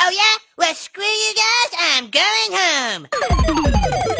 Oh, Yeah, screw you guys, I'm going home.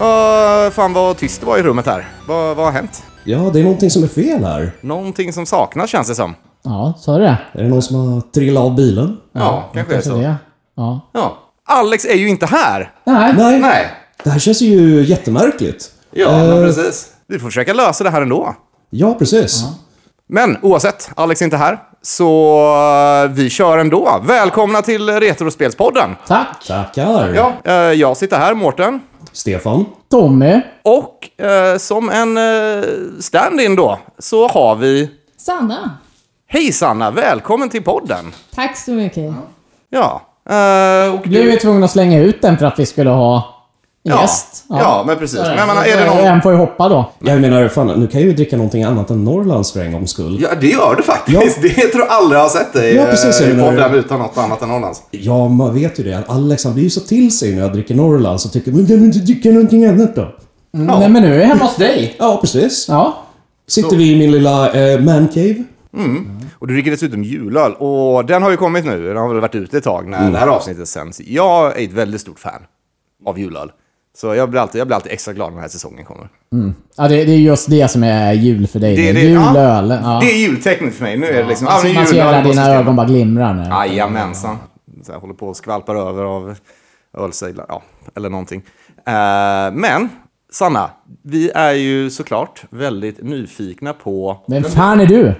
Åh, fan vad tyst det var i rummet här. Vad, vad har hänt? Ja, det är någonting som är fel här. Någonting som saknas känns det som. Ja, sa du det? Är det någon som har trillat av bilen? Ja, kanske är så. det. Ja. Ja. Alex är ju inte här. Nej. Nej. Nej. Det här känns ju jättemärkligt. Ja, Eh, men precis. Vi får försöka lösa det här ändå. Ja, precis. Men oavsett, Alex är inte här. Så eh, vi kör ändå. Välkomna till Retrospelspodden. Tack. Tackar. Ja, eh, jag sitter här, Mårten. Stefan. Tommy. Och eh, som en eh, stand-in då, så har vi... Sanna, Hej Sanna, välkommen till podden. tack så mycket. Ja. eh, och Blev vi tvungna att slänga ut den för att vi skulle ha ja, gäst. ja. ja, men precis. Men jag menar, är det någon... En får ju hoppa då. Jag menar, fan, nu kan jag ju dricka någonting annat än Norrlands för en gångs skull. Ja, det gör du faktiskt. Det tror jag aldrig jag har sett dig Ja, precis, eh, i jag menar podden det. utan något annat än Hollands. Ja, man vet ju det. Alex han blir ju så till sig när jag dricker Norrlands och tycker men kan du inte dricka någonting annat då? Ja. Nej, men nu är jag hemma hos dig. Ja, precis. Ja. Sitter vi i min lilla eh, mancave. Och du dricker dessutom julöl. Och den har ju kommit nu. Den har väl varit ute ett tag när det här avsnittet sänds. Jag är ett väldigt stort fan av julöl. Så jag blir alltid, jag blir alltid extra glad när den här säsongen kommer. ja det, det är just det som är jul för dig. Det är Julöl. ja, Ja. Det är jultecknet för mig. Nu är det liksom... Alltså, ja, man men ser julöl när på dina systemet. ögon bara glimrar nu. Jajamensan. Så jag håller på och skvalpar över av ölsejlar, ja, eller någonting. Eh, men, Sanna, vi är ju såklart väldigt nyfikna på Vem fan är du?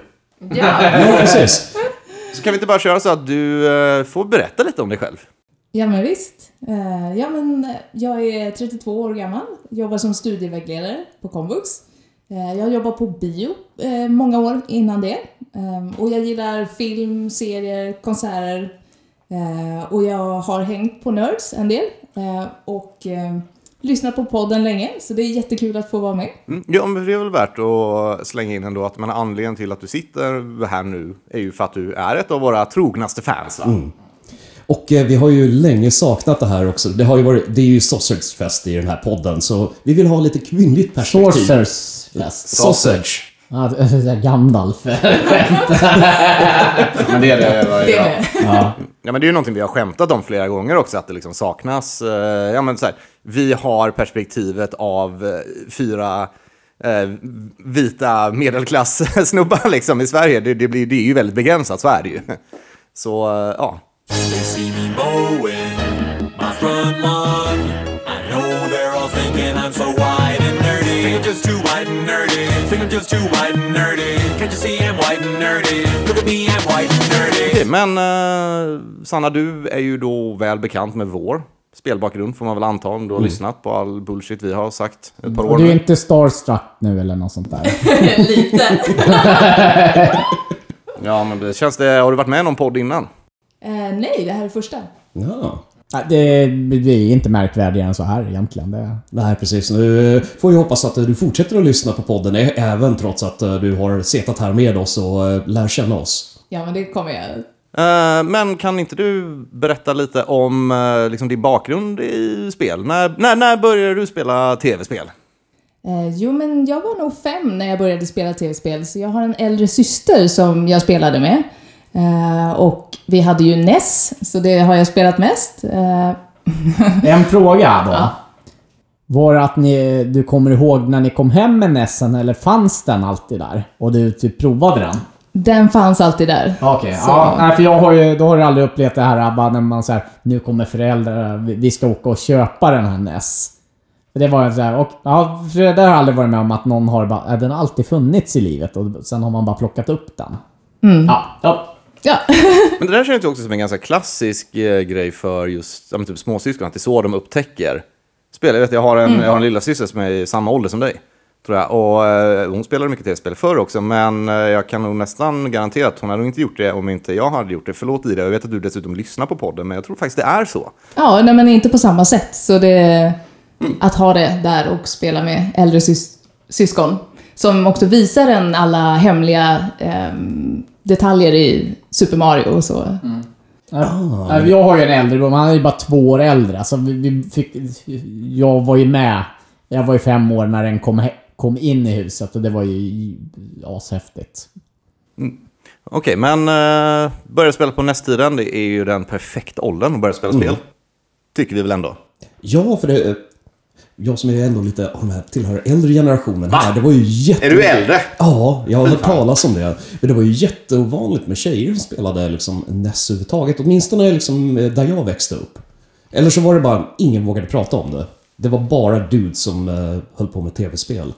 Ja, precis. Så kan vi inte bara köra så att du eh, får berätta lite om dig själv? Ja men visst. Eh, Ja, men eh, jag är 32 år gammal, jobbar som studievägledare på komvux. Eh, Jag jobbar på bio eh, många år innan det. Eh, Och jag gillar film, serier, konserter. Eh, Och jag har hängt på Nerds en del eh, och eh, lyssnat på podden länge, så det är jättekul att få vara med. Mm. Ja, men det är väl värt att slänga in ändå att men anledningen till att du sitter här nu är ju för att du är ett av våra trognaste fans. Va? Och eh, vi har ju länge saknat det här också. Det, har ju varit, det är ju sausagefest i den här podden, så vi vill ha lite kvinnligt perspektiv. Sorcerers fest. Sausage. Ja, det- det är Gandalf. Men det är det. Det är det. Ja, men det är ju någonting vi har skämtat om flera gånger också, att det liksom saknas. Eh, ja, men så här, vi har perspektivet av eh, fyra eh, vita medelklass-snubbar liksom, i Sverige. Det, det, blir, det är ju väldigt begränsat, så är det ju. Så, eh, ja. They see me mowing my front lawn. I know they're all thinking I'm so white and nerdy. Think I'm just too white and nerdy. Think I'm just too white and nerdy. Can't you see I'm white and nerdy? Look at me, I'm white and nerdy. Okej, Men eh, Sanna, du är ju då väl bekant med vår spelbakgrund, får man väl anta, om du har lyssnat på all bullshit vi har sagt ett par år Du Mm. är nu. inte starstruck nu eller något sånt där? Lite. Ja, men det känns det, har du varit med i någon podd innan? Eh, Nej, det här är första. Ja. Ja, Det, vi är inte märkvärdigare än så här egentligen. Det, Nej, precis. Nu eh, får vi hoppas att eh, du fortsätter att lyssna på podden, ä- även trots att eh, du har setat här med oss och eh, lär känna oss. Ja, men det kommer jag Eh, men kan inte du berätta lite om eh, liksom din bakgrund i spel? När, när, när började du spela tv-spel? Eh, jo, men jag var nog fem när jag började spela tv-spel, så jag har en äldre syster som jag spelade med. Eh, och vi hade ju NES, så det har jag spelat mest. Eh, En fråga då. Var det att ni, du kommer ihåg när ni kom hem med Nessen eller fanns den alltid där? Och du typ provade den? den fanns alltid där. Okej, ja. Nej, för jag har ju, då har du aldrig upplevt det här bara när man säger nu kommer föräldrar, vi- vi ska åka och köpa den här Ness. Det var ju såhär, och ja, för det har jag aldrig varit med om att någon har bara, "Ja, den har alltid funnits i livet och sen har man bara plockat upp den. Ja, Mm. ja. Ja. Men det där känns ju också som en ganska klassisk eh, grej för just ja, men typ småsyskon, att det är så de upptäcker spel. Jag, vet, jag, har en, jag har en lilla syster som är i samma ålder som dig, tror jag. Och eh, hon spelade mycket tv-spel förr också, men eh, jag kan nog nästan garantera att hon hade nog inte gjort det om inte jag hade gjort det. Förlåt Ida, jag vet att du dessutom lyssnar på podden, men jag tror faktiskt det är så. Ja, nej, men inte på samma sätt. Så det, att ha det där och spela med äldre sys- syskon. Som också visar en alla hemliga ehm, detaljer i Super Mario och så. Ja, Jag Alltså, har ju en äldre bror, men han är ju bara två år äldre. Så vi, vi fick, jag var ju med Jag var ju fem år när den kom, he- kom in i huset och det var ju ashäftigt. Okej, men eh, börja spela på nästtiden, det är ju den perfekta åldern att börja spela spel. Tycker vi väl ändå. Ja, för det... Jag som är ändå lite, om jag tillhör äldre generationen här, det var ju jätte... Är du äldre? Ja, jag har hört talas om det. Men det var ju jätteovanligt med tjejer som spelade liksom NES överhuvudtaget. Åtminstone liksom eh, där jag växte upp. Eller så var det bara, ingen vågade prata om det. Det var bara dudes som eh, höll på med tv-spel.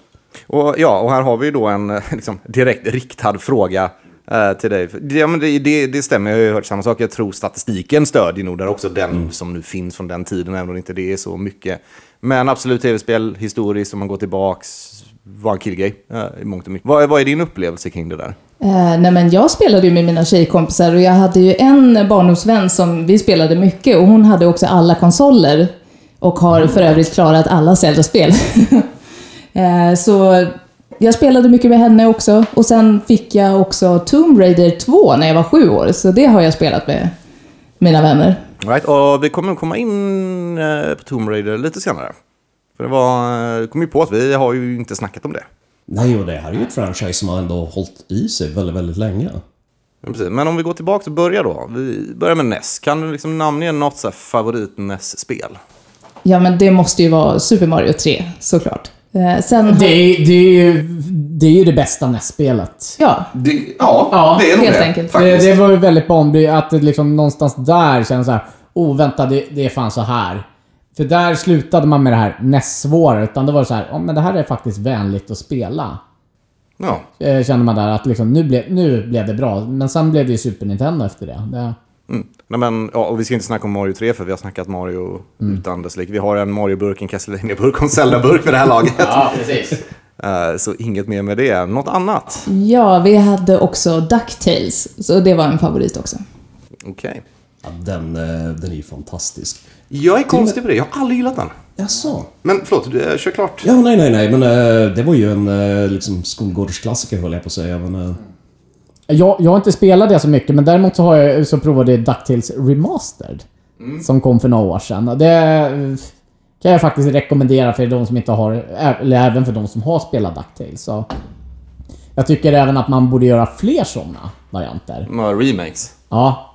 Och, ja, och här har vi ju då en eh, liksom, direkt riktad fråga eh, till dig. Ja, men det, det, det stämmer, jag har ju hört samma sak. Jag tror statistiken stödjer nog där också den som nu finns från den tiden, även om inte det är så mycket. Men absolut tv-spel, historiskt, om man går tillbaks, var en killgrej eh, i mångt och mycket. Vad, vad är din upplevelse kring det där? Eh, nej men jag spelade ju med mina tjejkompisar och jag hade ju en barndomsvän som vi spelade mycket och hon hade också alla konsoler och har för övrigt klarat alla Zelda-spel. eh, så jag spelade mycket med henne också och sen fick jag också Tomb Raider 2 när jag var sju år så det har jag spelat med mina vänner. All Right, och vi kommer komma in eh, på Tomb Raider lite senare. För det var, eh, kom ju på att vi har ju inte snackat om det. Nej, och det här är ju ett franchise som har ändå hållit i sig väldigt, väldigt länge. Ja, precis. Men om vi går tillbaka och börjar då. Vi börjar med NES. Kan du liksom namnge något så här E favorit-NES-spel? Ja men det måste ju vara Super Mario 3 såklart. Eh, sen har- Det är, det är, ju, det är ju det bästa NES-spelet. Ja, ja, Ja, det är nog helt det. enkelt. Det, Faktiskt. det var ju väldigt bombigt att det liksom någonstans där kändes så här. Oh, vänta, det, det är fan så här. För där slutade man med det här NES-svåra, utan det var så här, oh, men det här är faktiskt vänligt att spela. Ja. eh, kände man där att liksom, nu, blev, nu blev det bra. Men sen blev det ju Super Nintendo efter det. det Mm. Nej, men, ja, och vi ska inte snacka om Mario 3 för vi har snackat Mario utan dess like. Vi har en Mario-burk, en Castlevania-burk och en Zelda-burk vid det här laget. ja, precis. Eh, så inget mer med det. Något annat? ja, vi hade också DuckTales, så det var en favorit också. Okej. Ja, den, eh, den är ju fantastisk. Jag är konstig på det. Jag har aldrig gillat den. Jaså? Men förlåt, du, eh, kör klart. Ja, nej, nej, nej, men eh, det var ju en eh, liksom skolgårdsklassiker höll jag på att säga. Men, eh, Jag, jag har inte spelat det så mycket, men däremot så, har jag, så provade jag DuckTales Remastered. Som kom för några år sedan. Och Det eh, kan jag faktiskt rekommendera för de som inte har, ä- eller även för de som har spelat DuckTales. Så jag tycker även att man borde göra fler sådana varianter. Några remakes. Ja.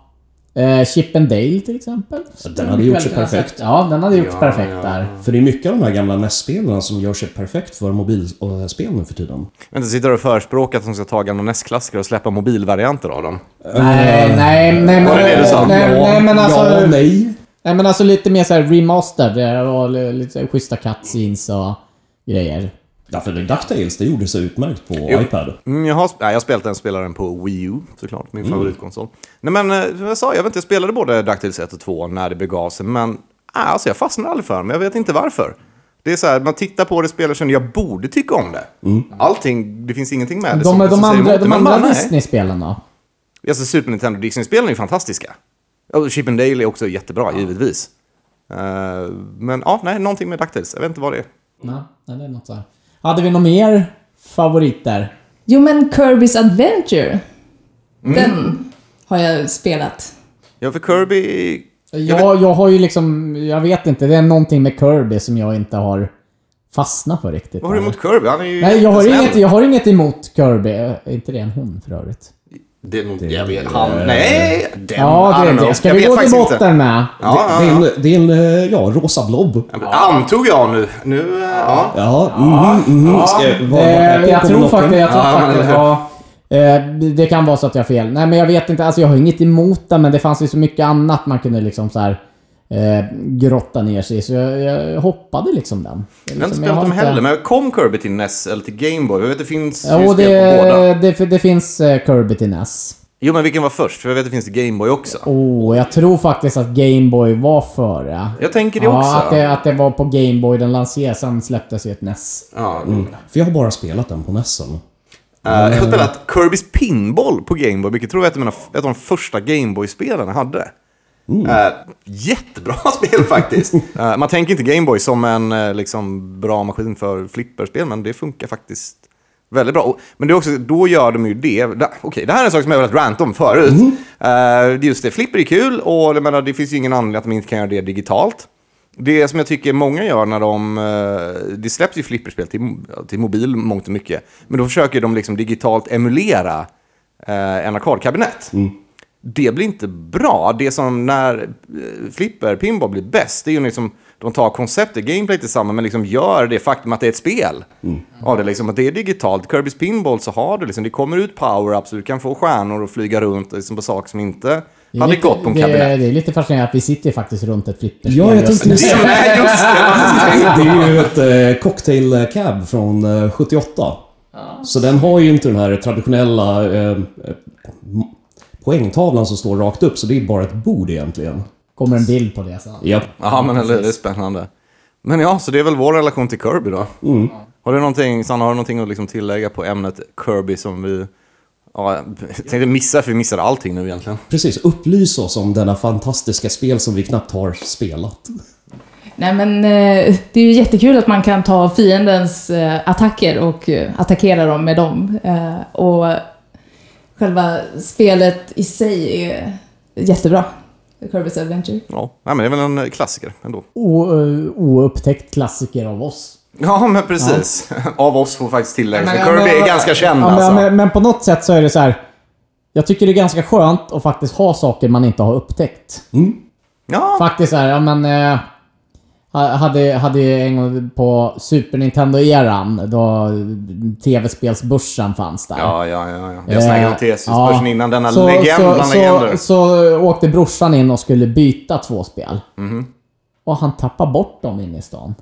Eh, Chip and Dale till exempel. den hade gjort sig perfekt. Ja, den hade gjorts perfekt där. För det är mycket av de här gamla NES-spelen som gör sig perfekt för mobilspel nu för tiden. Vänta, sitter du och förespråkar att de ska ta gamla NES-klassiker och släppa mobilvarianter av dem? Nej, nej, nej. Var det det du sa? Nej, nej men alltså... Ja, nej. Nej men alltså lite mer såhär remastered eh, och li- lite schyssta cutscenes och grejer. Därför det DuckTales, det gjorde sig utmärkt på iPad. Mm, jag, har, sp- nej, jag har spelat den spelaren på Wii U, såklart. Min favoritkonsol. Nej, men eh, som jag sa, jag vet inte, jag spelade både DuckTales 1 och 2 när det begav sig, men äh, alltså, jag fastnade aldrig för dem. Jag vet inte varför. Det är så här, man tittar på det, spelar, känner jag borde tycka om det. Allting, det finns ingenting med det De, som, de som säger andra, emot det, de men andra bara, nej. Disney-spelen då? Alltså, Super Nintendo och Disney-spelen är ju fantastiska. Och Chip and Dale är också jättebra, givetvis. Eh, men ja, nej, någonting med DuckTales. Jag vet inte vad det är. Nej, nej, det är något så här. Hade vi någon mer favoriter? Jo, men Kirby's Adventure. Mm. Den har jag spelat. Ja, för Kirby... Jag, jag har ju liksom, jag vet inte, det är någonting med Kirby som jag inte har fastnat för riktigt. Vad har du Eller? emot Kirby? Han är ju Nej, jag har, jättesnäll. inget, jag har inget emot Kirby. Är inte det en hon för övrigt? Det är nog... jag vet, han... Nej! Den, Ja, I don't det är know. det. Ska Jag vi vet gå till faktiskt inte. botten med? Ja, det, ja, ja. det är en, det är en eh, ja, rosa blob. Antog jag nu. Nu... eh, Ja. Ja, mm, mm, mm. Ska, vad- vad är Eh, jag Pokémon tror något? faktiskt... Jag tror Ja, men faktiskt eller hur? ja, eh, det kan vara så att jag har fel. Nej, men jag vet inte. Alltså, jag har inget emot det, men det fanns ju så mycket annat man kunde liksom så här, eh, grotta ner sig i. Så jag, jag hoppade liksom Jag den. har inte Liksom, spelat har dem inte- heller, men kom Kirby till NES eller till Gameboy? Jag vet, det finns ju Jo, spel det, på båda. det, det finns eh, Kirby till NES. Jo, men vilken var först? För jag vet att det finns till Gameboy också. Oh, jag tror faktiskt att Gameboy var före. Jag tänker det Ja, också. att det, att det var på Gameboy den lanserades, sen släpptes ju ett E NES. Ja. För jag har bara spelat den på E Nessen. Eh, jag har spelat Kirbys Pinball på Gameboy, vilket tror jag är ett av, mina, ett av de första Gameboy-spelen jag hade. Eh, jättebra spel faktiskt. Eh, man tänker inte Gameboy som en eh, liksom, bra maskin för flipperspel, men det funkar faktiskt väldigt bra. Och, men det är också, då gör de ju det. Da, okej, det här är en sak som jag har velat ranta om förut. Mm. Eh, det är just det, flipper är kul och jag menar, det finns ju ingen anledning att man inte kan göra det digitalt. Det som jag tycker många gör när de... eh, Det släpps ju flipperspel till, till mobil mångt och mycket. Men då försöker de liksom digitalt emulera eh, en arkadkabinett. Det blir inte bra. Det som när eh, flipper, pinball blir bäst, det är ju liksom... De tar konceptet, gameplay tillsammans, men liksom gör det faktum att det är ett spel. Av det liksom, att det är digitalt. Kirby's Pinball så har du liksom, det kommer ut power-ups, du kan få stjärnor och flyga runt liksom, på saker som inte Det är hade lite- gått på en det, kabinett. är- det är lite fascinerande att vi sitter faktiskt runt ett flipperspel. Ja, jag just tänkte nu. just det. Nej, just det. Det är ju ett eh, cocktail cab från eh, 78. Så den har ju inte den här traditionella eh, eh, m- poängtavlan som står rakt upp, så det är bara ett bord egentligen. kommer en bild på det sen. Ja. Ja, men eller, det är spännande. Men ja, så det är väl vår relation till Kirby då. Har du någonting, Sanna, har du någonting att liksom tillägga på ämnet Kirby som vi ja, jag tänkte missa, för vi missade allting nu egentligen. Precis, upplys oss om denna fantastiska spel som vi knappt har spelat. Nej men eh, det är ju jättekul att man kan ta fiendens eh, attacker och eh, attackera dem med dem. Eh, Och själva spelet i sig är jättebra. Kirby's Adventure. Ja, nej, men det är väl en klassiker ändå. O, eh, oupptäckt klassiker av oss. Ja, men precis. Av oss får faktiskt tilläggas, för Men- Kirby men- är ganska känd Ja, men, alltså. men, men på något sätt så är det så här. Jag tycker det är ganska skönt att faktiskt ha saker man inte har upptäckt. Mm. Ja, Faktiskt så här, ja men... Eh, ha- hade, hade ju en gång på Super Nintendo-eran, då tv-spelsbörsen fanns där. ja, ja, ja. ja. Jag snackade om Eh, ja. Tesis-börsen innan, denna Så- legend så- bland så, legender. Så, åkte brorsan in och skulle byta två spel. Mhm. Och han tappade bort dem inne i stan.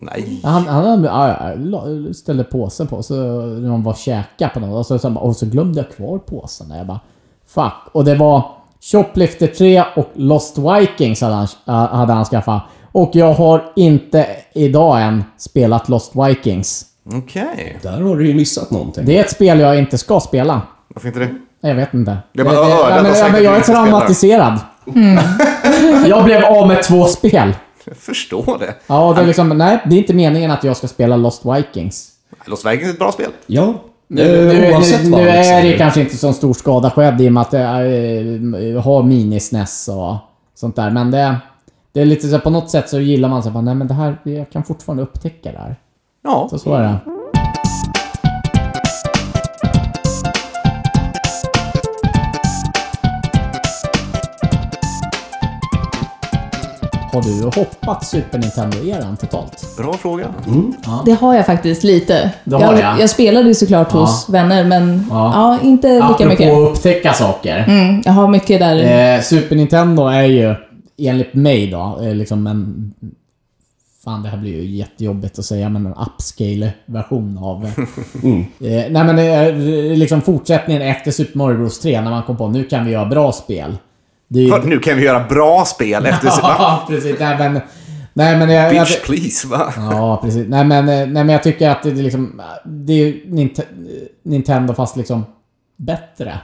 Nej. Han, han ja, ja, la- ställde påsen på, så när de var och käkade på något, och så, så, han bara, och så glömde jag kvar påsen där. Jag bara, fuck. Och det var Shoplifter 3 och Lost Vikings hade han, äh, hade han skaffat. Och jag har inte idag än spelat Lost Vikings. Okej. Där har du ju missat någonting. Det är ett spel jag inte ska spela. Varför inte det? Nej, Jag vet inte. Det är bara örat ja, och men, ja, säkert men jag är inte spelar. traumatiserad. jag blev av med två spel. Jag förstår det. Ja, och det är liksom, nej, det är inte meningen att jag ska spela Lost Vikings. Los Vegas är ett bra spel. Ja, Nu, nu, eh, oavsett nu, vad. nu liksom. är det kanske inte så stor skada skedd i och med att jag har minisnäs och sånt där. Men det, det är lite så här, på något sätt så gillar man så här, bara, nej men det här, jag kan fortfarande upptäcka det här. Ja. Så så är det. Har du hoppat Super Nintendo-eran totalt? Bra fråga. Mm. Det har jag faktiskt lite. Det har jag, jag. jag spelade ju såklart hos vänner men ja. Ja. inte lika mycket. Apropå att upptäcka saker. Mm, jag har mycket där. Eh, Super Nintendo är ju, enligt mig då, eh, liksom en... Fan, det här blir ju jättejobbigt att säga, men en upscale-version av... Mm. Eh, nej men eh, liksom fortsättningen efter Super Mario Bros 3, när man kom på nu kan vi göra bra spel. Det är ju... För nu kan vi göra bra spel efter... Va? Ja, precis. Nej men... Nej men jag... jag Bitch please, va? ja, precis. Nej men, eh, nej men jag tycker att det är liksom... Det är ju Nint Nintendo fast liksom bättre.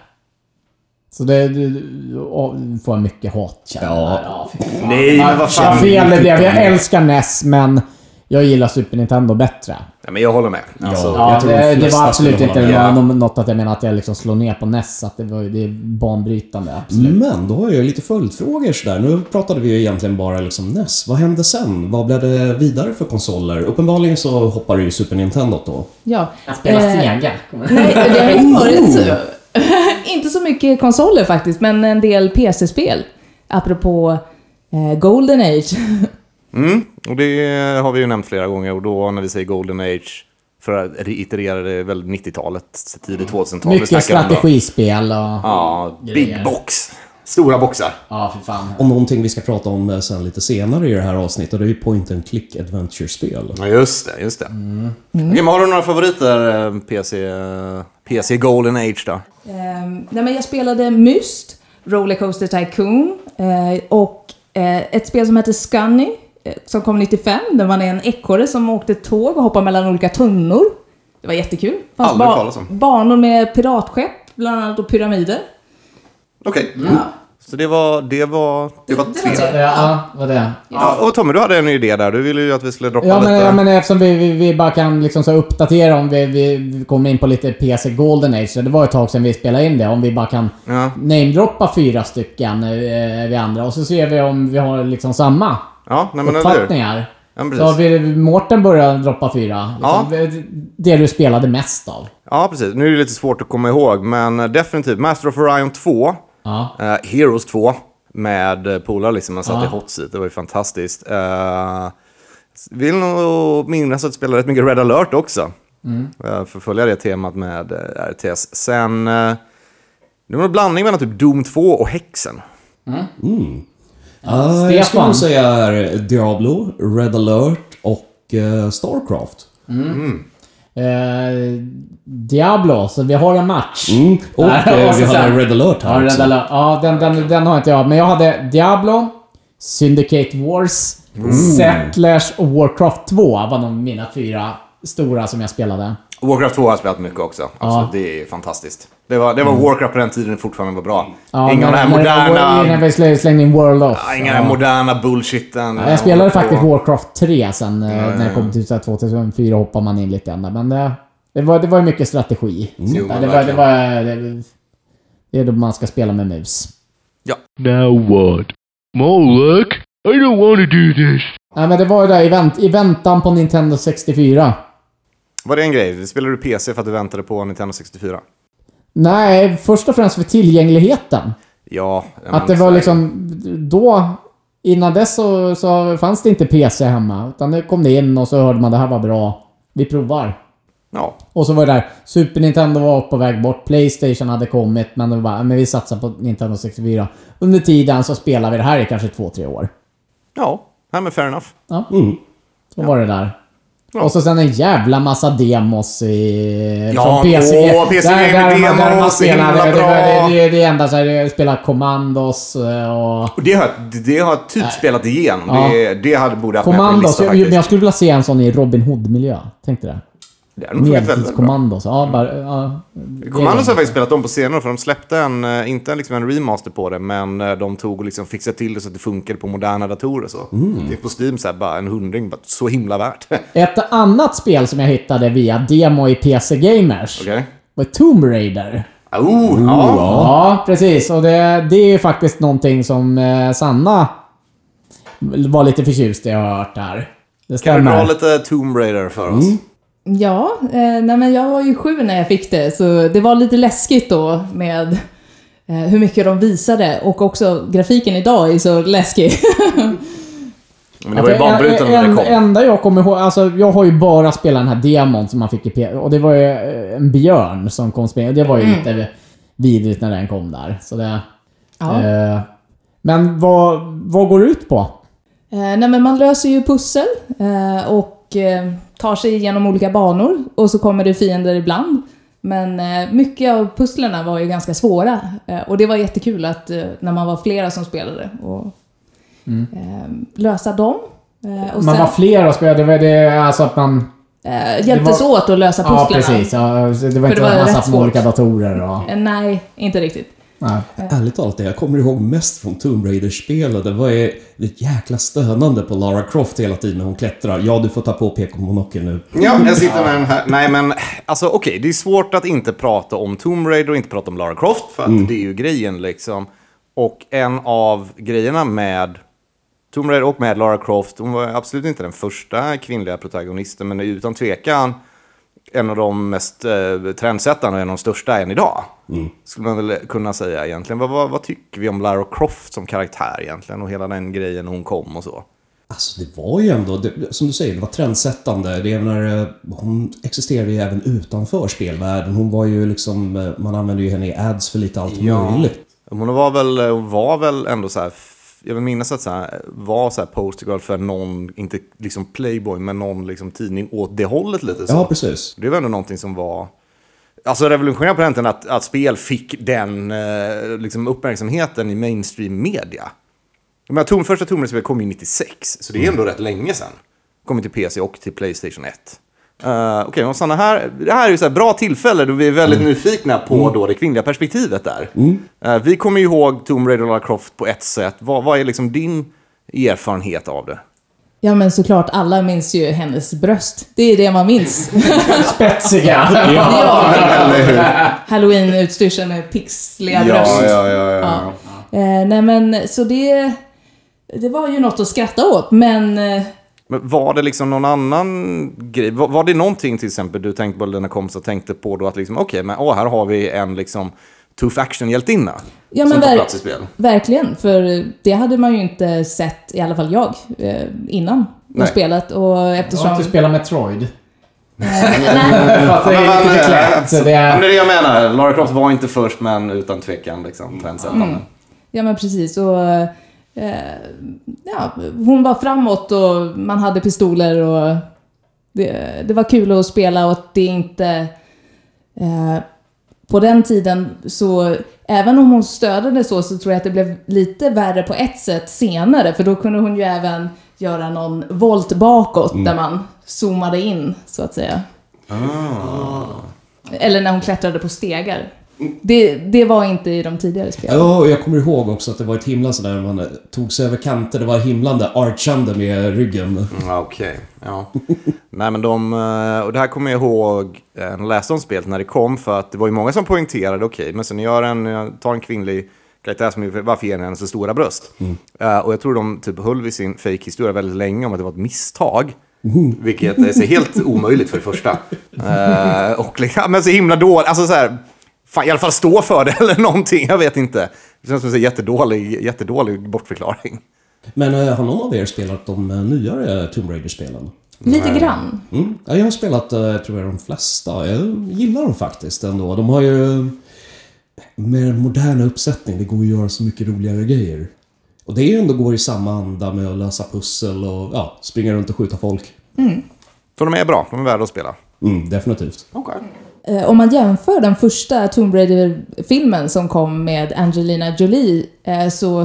Så det... det- det- och- får jag mycket hat känner jag. Ja, fy fan. Nej, men vad Ja, fan. fel det blev. Jag älskar NES, men jag gillar Super Nintendo bättre. Ja, men jag håller med. Alltså, Ja, eh, Jag tror de det, det flesta var absolut skulle inte hålla med. någon- något att jag menar att jag liksom slår ner på NES. Att det, var, ju- det är banbrytande, Mm. absolut. Men då har jag lite följdfrågor sådär. Nu pratade vi ju egentligen bara liksom NES. Vad hände sen? Vad blev det vidare för konsoler? Uppenbarligen så hoppar du ju Super Nintendo då. ja. Jag spelar Eh, Sega. Nej, det har Oh. inte varit så. inte så mycket konsoler faktiskt, men en del PC-spel. Apropå eh, Golden Age. mm, och det har vi ju nämnt flera gånger. Och då när vi säger Golden Age, för att reiterera det är väl 90-talet, tidigt 2000-tal. vi Mycket snackar om då. strategispel och... Ja, big Grejer. box. Stora boxar. Ja, för fan. Om någonting vi ska prata om eh, sen lite senare i det här avsnittet, det är ju Point and Click Adventure-spel. Ja, just det. Just det. Okej, men har du några favoriter eh, PC, eh, PC Golden Age då? Ehm, nej, men jag spelade Myst, Rollercoaster Tycoon eh, och eh, ett spel som heter Scunny eh, som kom 95 där man är en ekorre som åkte tåg och hoppade mellan olika tunnor. Det var jättekul. Det fanns Aldrig talas om. banor med piratskepp, bland annat, och pyramider. Okej. Så det var... Det var, Mm. det var tre. Ja, eh, ja, vad det? Ja, och Tommy, du hade en idé där. Du ville ju att vi skulle droppa Ja men, lite. ja men eftersom vi, vi, vi bara kan liksom så här uppdatera om vi, vi, vi kommer in på lite PC Golden Age. så Det var ett tag sedan vi spelade in det. Om vi bara kan Ja. namedroppa fyra stycken eh, vi andra och så ser vi om vi har liksom samma. Ja, nej men eller hur? uppfattningar. Ja, men Så har precis. vi, Mårten börjar droppa fyra. Ja. Liksom, Det du spelade mest av. ja, precis. Nu är det lite svårt att komma ihåg, men eh, definitivt Master of Orion 2, Ja. eh, Heroes 2 med eh, polare liksom. Man satt Ja. i hot seat, det var ju fantastiskt. Eh, vill nog minnas att spela rätt mycket Red alert också. Mm. Eh, förfölja det temat med eh, RTS. Sen, eh, det var en blandning mellan typ Doom 2 och Hexen. Ah, jag skulle Stefan. nog säga är Diablo, Red alert och eh, Starcraft. Eh, Diablo, så vi har en match. Mm. Och Där har eh, vi vi så hade här. Red alert Ja, här Red också. Alert. ja den, den, den har inte jag. Men jag hade Diablo, Syndicate Wars, Mm. Settlers och Warcraft 2 var de mina fyra stora som jag spelade. Warcraft 2 har jag spelat mycket också. Ah. Absolut, Det är fantastiskt. Det var, det var Warcraft på den tiden det fortfarande var bra. Mm. Ja, inga av de när- här när- Innan moderna... vi slängde- slängde in World of. Ja, Inga av den här moderna bullshiten. Ja, jag spelade faktiskt Warcraft 3 sen eh, när det kom till så här 2004 hoppade man in lite ändå. Men det, det var ju det var ju mycket strategi. Jo, Ja, men det, var, det, verkligen. var, det, det är då man ska spela med mus. Now what? More work? I don't want to do this. Nej men det var ju där i, vänt, i väntan på Nintendo 64. Var det en grej? Spelade du PC för att du väntade på Nintendo 64? Nej, först och främst för tillgängligheten. Ja. Att det var liksom... Då... Innan dess så, så fanns det inte PC hemma. Utan nu kom det in och så hörde man det här var bra. Vi provar. Ja. Och så var det där. Super Nintendo var på väg bort. Playstation hade kommit. Men det var bara, "Ja, men vi satsar på Nintendo 64. Under tiden så spelade vi det här i kanske två, tre år. Ja. Nej, men fair enough. Ja. Mm. Så var det där. Och så sen en jävla massa demos i... Ja, från PC. åh, PC där, där, man- där man demos, så himla spelar, det, det, bra. det, det, det enda så här, det är spela Commandos eh, och... Och det har, jag- det har jag typ spelat igenom. Ja. Det, det hade, borde haft med på en Commandos, lista jag, men jag faktiskt. skulle vilja se en sån i Robin Hood-miljö. Tänkte det. Det hade nog funkat Med väldigt bra. Mm. Commandos. Ja, bara, ja, det- Commandos har jag faktiskt spelat om på senare för de släppte en, eh, inte liksom en remaster på det, men eh, de tog och liksom fixade till det så att det funkade på moderna datorer. Så. Mm. Det är på Steam så här, bara en hundring, bara, så himla värt. Okej? Ett annat spel som jag hittade via demo i PC Gamers var Tomb Raider. Oh, ja. Ja, precis. Och det, det är ju faktiskt någonting som eh, Sanna var lite förtjust i, har jag hört här. Kan Det du stämmer. dra lite Tomb Raider för Mm. oss? Ja, eh, nej men jag var ju sju när jag fick det, så det var lite läskigt då med eh, hur mycket de visade och också grafiken idag är så läskig. Men det var ju Alltså, banbrytande när en- det en- kom. enda jag kommer ihåg, alltså jag har ju bara spelat den här demon som man fick i P... Och det var ju eh, en björn som kom spelande. Det var Mm. ju lite vidrigt när den kom där. Så det... Ja. Eh, men vad, vad går det ut på? Eh, Nej, men man löser ju pussel eh, och eh, tar sig igenom olika banor och så kommer det fiender ibland. Men eh, mycket av pusslerna var ju ganska svåra eh, och det var jättekul att eh, när man var flera som spelade och eh, lösa dem. Eh, Och Mm. man sen var flera och spelade. Det var det, alltså att man... eh, hjälptes det åt att lösa Ja, pusslerna. precis. Ja, så det var inte det var att man rätt satt med svårt. olika datorer och... Eh, Nej, inte riktigt. Nej. Ärligt talat, det jag kommer ihåg mest från Tomb Raider-spelet det var ju det jäkla stönande på Lara Croft hela tiden när hon klättrar. Ja, du får ta på PK-monokeln nu. Ja, jag sitter med den här. Nej, men alltså okej, det är svårt att inte prata om Tomb Raider och inte prata om Lara Croft, för att det är ju grejen liksom. Och en av grejerna med Tomb Raider och med Lara Croft, hon var absolut inte den första kvinnliga protagonisten, men är utan tvekan en av de mest eh, trendsättarna och en av de största än idag. Skulle man väl kunna säga egentligen. Vad, vad, vad tycker vi om Lara Croft som karaktär egentligen och hela den grejen hon kom och så? Alltså det var ju ändå, det, som du säger, det var trendsättande. Det är när, eh, hon existerade ju även utanför spelvärlden. Hon var ju liksom, eh, man använde ju henne i ads för lite allt möjligt. Hon var väl, var väl ändå så här, jag vill minnas att så här, var så här postergirl för någon, inte liksom Playboy, men någon liksom tidning åt det hållet lite så. Ja, precis. Det var ändå någonting som var, alltså revolutionerande på den tiden att, att spel fick den eh, liksom uppmärksamheten i mainstream media. Jag menar, tom, första Tomb Raider-spelet kom ju 96, så det är ändå rätt länge sedan. Kom till PC och till Playstation 1. Uh, Okej, men Sanna, här, det här är ju så här bra tillfälle då vi är väldigt nyfikna på då det kvinnliga perspektivet där. Eh, vi kommer ju ihåg Tomb Raider och Lara Croft på ett sätt. Vad, vad är liksom din erfarenhet av det? Ja men såklart, alla minns ju hennes bröst. Det är det man minns. Spetsiga! ja. Halloween-utstyrseln med pixliga bröst. ja, ja. Eh, nej men så det... Det var ju något att skratta åt, men eh, Men var det liksom någon annan grej? Var, var det någonting till exempel du tänkte på eller dina kompisar tänkte på då att liksom okej, men åh, här har vi en liksom tuff actionhjältinna Ja, som men tar ver- plats i spel. verkligen. För det hade man ju inte sett, i alla fall jag, eh, innan Nej. typ. med spelet. Och Du har eftersom... inte spelat Metroid? Nej, Fast det är lite klätt. så Det Ja, men det är... är det jag menar. Lara Croft var inte först, men utan tvekan liksom trendsättande. ja, men precis. Och, eh, ja, hon var framåt och man hade pistoler och det, det var kul att spela och att det inte... Eh, på den tiden så, även om hon stödde så, så tror jag att det blev lite värre på ett sätt senare. För då kunde hon ju även göra någon volt bakåt där man zoomade in, så att säga. Eller när hon klättrade på stegar. Det, det var inte i de tidigare spelen. Ja, och jag kommer ihåg också att det var ett himla sådär man eh, tog sig över kanter. Det var himlande archande med ryggen. Ja, Okej, ja. Nej men de, eh, och det här kommer jag ihåg eh, när jag läste om spelet när det kom för att det var ju många som poängterade okej, men sen gör en, jag tar en kvinnlig karaktär som är- varför ger ni henne så stora bröst? Eh, och jag tror de typ höll vid sin fake historia väldigt länge om att det var ett misstag. Vilket är så helt omöjligt för det första. Eh, och liksom, men så himla dåligt, alltså så här, fan, i alla fall stå för det eller någonting, jag vet inte. Det känns som en jättedålig, jättedålig bortförklaring. Men eh, har någon av er spelat de eh, nyare Tomb Raider-spelen? Lite grann. Mm. Ja, jag har spelat, eh, tror jag, de flesta. Jag gillar dem faktiskt ändå. De har ju... Med den moderna uppsättning, det går ju att göra så mycket roligare grejer. Och det är ju ändå går i samma anda med att lösa pussel och ja, springa runt och skjuta folk. Så de är bra, de är värda att spela. Mm, definitivt. Eh, Om man jämför den första Tomb Raider-filmen som kom med Angelina Jolie eh, så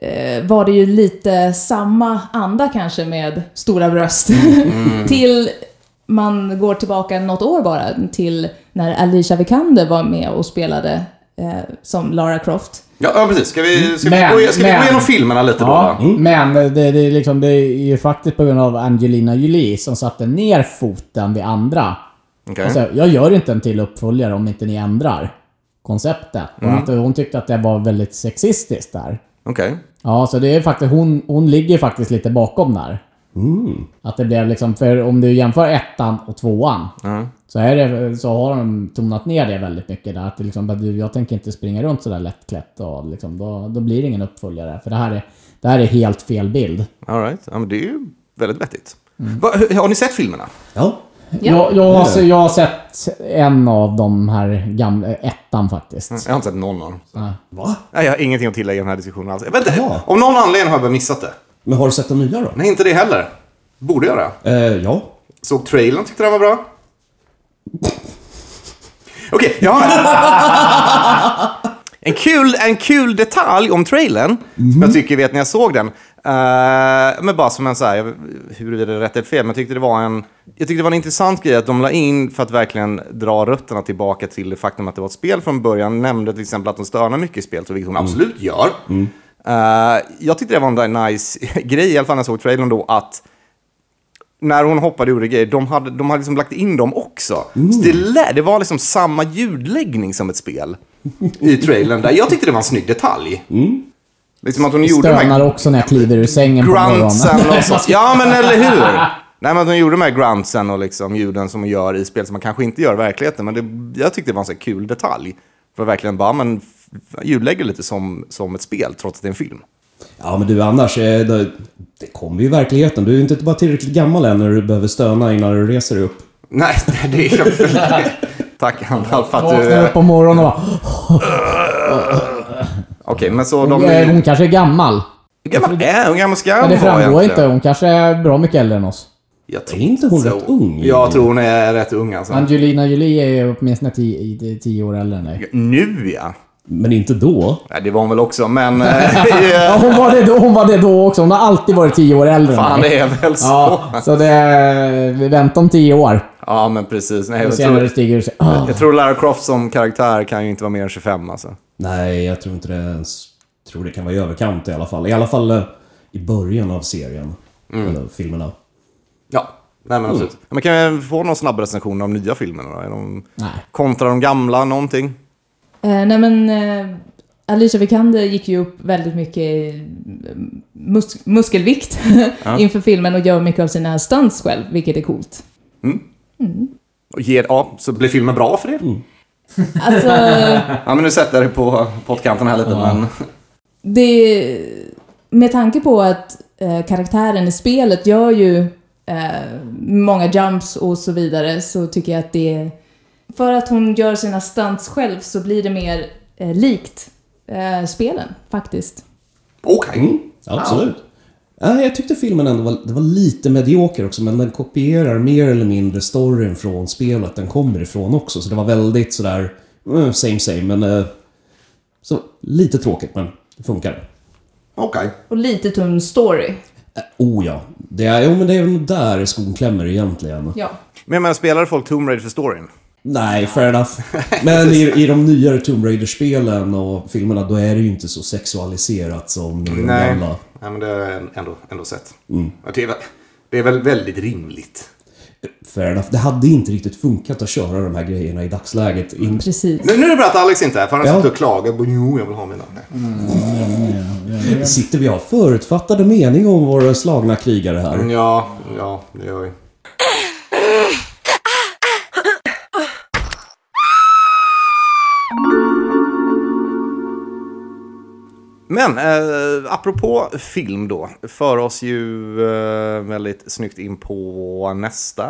eh, var det ju lite samma anda kanske med stora bröst. till man går tillbaka något år bara till när Alicia Vikander var med och spelade eh, som Lara Croft. Ja, ja precis. Ska vi, ska Men- vi, gå, ska vi gå men- igenom filmerna lite då? Ja, va? men det, det, är liksom, det är ju faktiskt på grund av Angelina Jolie som satte ner foten vid andra. Okej. Och så, jag gör inte en till uppföljare om inte ni ändrar konceptet. Och Mm. att hon tyckte att det var väldigt sexistiskt där. Okej. Ja, så det är faktiskt, hon, hon ligger faktiskt lite bakom där. Att det blev liksom, för om du jämför ettan och tvåan så, är det, så har de tonat ner det väldigt mycket där. Att det liksom, bara, du, jag tänker inte springa runt sådär lättklätt och liksom, då, då blir det ingen uppföljare. För det här är, det här är helt fel bild. All right. Ja, men det är ju väldigt vettigt. Va, hur- har ni sett filmerna? Ja. Ja. Jag, jag, har, se- jag har sett en av de här gamla, ettan faktiskt. Jag har inte sett någon av dem. Va? Nej, jag har ingenting att tillägga i den här diskussionen alls. Vänta, Jaha. om någon anledning har jag bara missat det. Men har du sett de nya då? Nej, inte det heller. Borde jag det. Eh, ja. Såg trailern, tyckte den var bra. Okej, jag har... En kul, en kul detalj om trailern, som jag tycker vet när jag såg den. eh, men bara som en så här, jag- huruvida det är rätt eller fel, men jag tyckte det var en... Jag tyckte det var en intressant grej att de la in för att verkligen dra rötterna tillbaka till det faktum att det var ett spel från början. Nämnde till exempel att de stönar mycket i spelet, vilket de absolut gör. Eh, jag tyckte det var en där nice grej, i alla fall när jag såg trailern då, att när hon hoppade ur grejer, de hade, de hade liksom lagt in dem också. Så det, lä- det var liksom samma ljudläggning som ett spel i trailern. Där. Jag tyckte det var en snygg detalj. Liksom att hon gjorde de Stönar här också när jag kliver ur sängen på morgonen. gruntsen och sånt. Ja, men eller hur? Nej, men att hon gjorde de här gruntsen och liksom ljuden som hon gör i spel som man kanske inte gör i verkligheten. Men det, jag tyckte det var en så här kul detalj. För att verkligen bara, men f- ljudlägger lite som, som ett spel, trots att det är en film. Ja, men du annars, eh, det, det kommer ju i verkligheten. Du är inte bara tillräckligt gammal än när du behöver stöna innan du reser dig upp. Nej, det är jag väl- Tack, Hanna, för att du... Vaknar upp på morgonen och bara, eh, Okej, men så de... hon, eh, hon kanske är gammal. Hur gammal är hon? Hur gammal ska Ja, hon det vara framgår egentligen? inte. Hon kanske är bra mycket äldre än oss. Jag Är inte hon rätt ung? Jag tror hon är rätt ung alltså. Angelina Jolie är ju åtminstone tio, i- tio år äldre än dig. Nu ja. Men inte då. Nej, det var hon väl också, men... eh, Ja, hon var det då, hon var det då också. Hon har alltid varit tio år äldre Fan, än mig. det är väl så. Ja, Ja, så det... vi Vänta om tio år. men precis. Nej, Och jag, se när du tror, stiger ur sängen. Ah. jag tror Lara Croft som karaktär kan ju inte vara mer än 25 alltså. Nej, jag tror inte det ens. tror det kan vara i överkant i alla fall. I alla fall eh, i början av serien. Eller filmerna. Ja. Nej, Mm. men absolut. Men kan vi få någon snabb recension av de nya filmerna då? Är de Nej. kontra de gamla, någonting? Eh, nej men, eh, Alicia Vikander gick ju upp väldigt mycket i mus- muskelvikt inför filmen och gör mycket av sina stunts själv, vilket är coolt. Och Ger, ja, så blir filmen bra för det? Mm. Alltså, Ja, men nu sätter jag det på pottkanten här lite, men... det, med tanke på att eh, karaktären i spelet gör ju eh, många jumps och så vidare så tycker jag att det... För att hon gör sina stunts själv så blir det mer eh, likt eh, spelen, faktiskt. Okej. Mm, Absolut. Nej, jag tyckte filmen ändå var, det var lite medioker också, men den kopierar mer eller mindre storyn från spelet den kommer ifrån också. Så det var väldigt sådär, eh, same same, men... eh, Så lite tråkigt, men det funkar. Okej. Och lite tunn story. Oh ja. Det är, jo, men det är nog där skon klämmer egentligen. Ja. Men jag spelar folk Tomb Raider för storyn? Nej, fair enough. Men i, i de nyare Tomb Raider-spelen och filmerna, då är det ju inte så sexualiserat som i de gamla. Mm. Nej, men det har jag ändå, ändå sett. Och Det, är väl, det är väl väldigt rimligt. Fair enough. Det hade inte riktigt funkat att köra de här grejerna i dagsläget. In, Precis. Nu, nu är det bra att Alex inte är här, för han Ja. har suttit och klagat på jo, jag vill ha mina. Nej. Sitter vi och har förutfattade meningar om våra slagna krigare här? Ja, ja, det gör vi. Men eh, apropå film då, för oss ju eh, väldigt snyggt in på nästa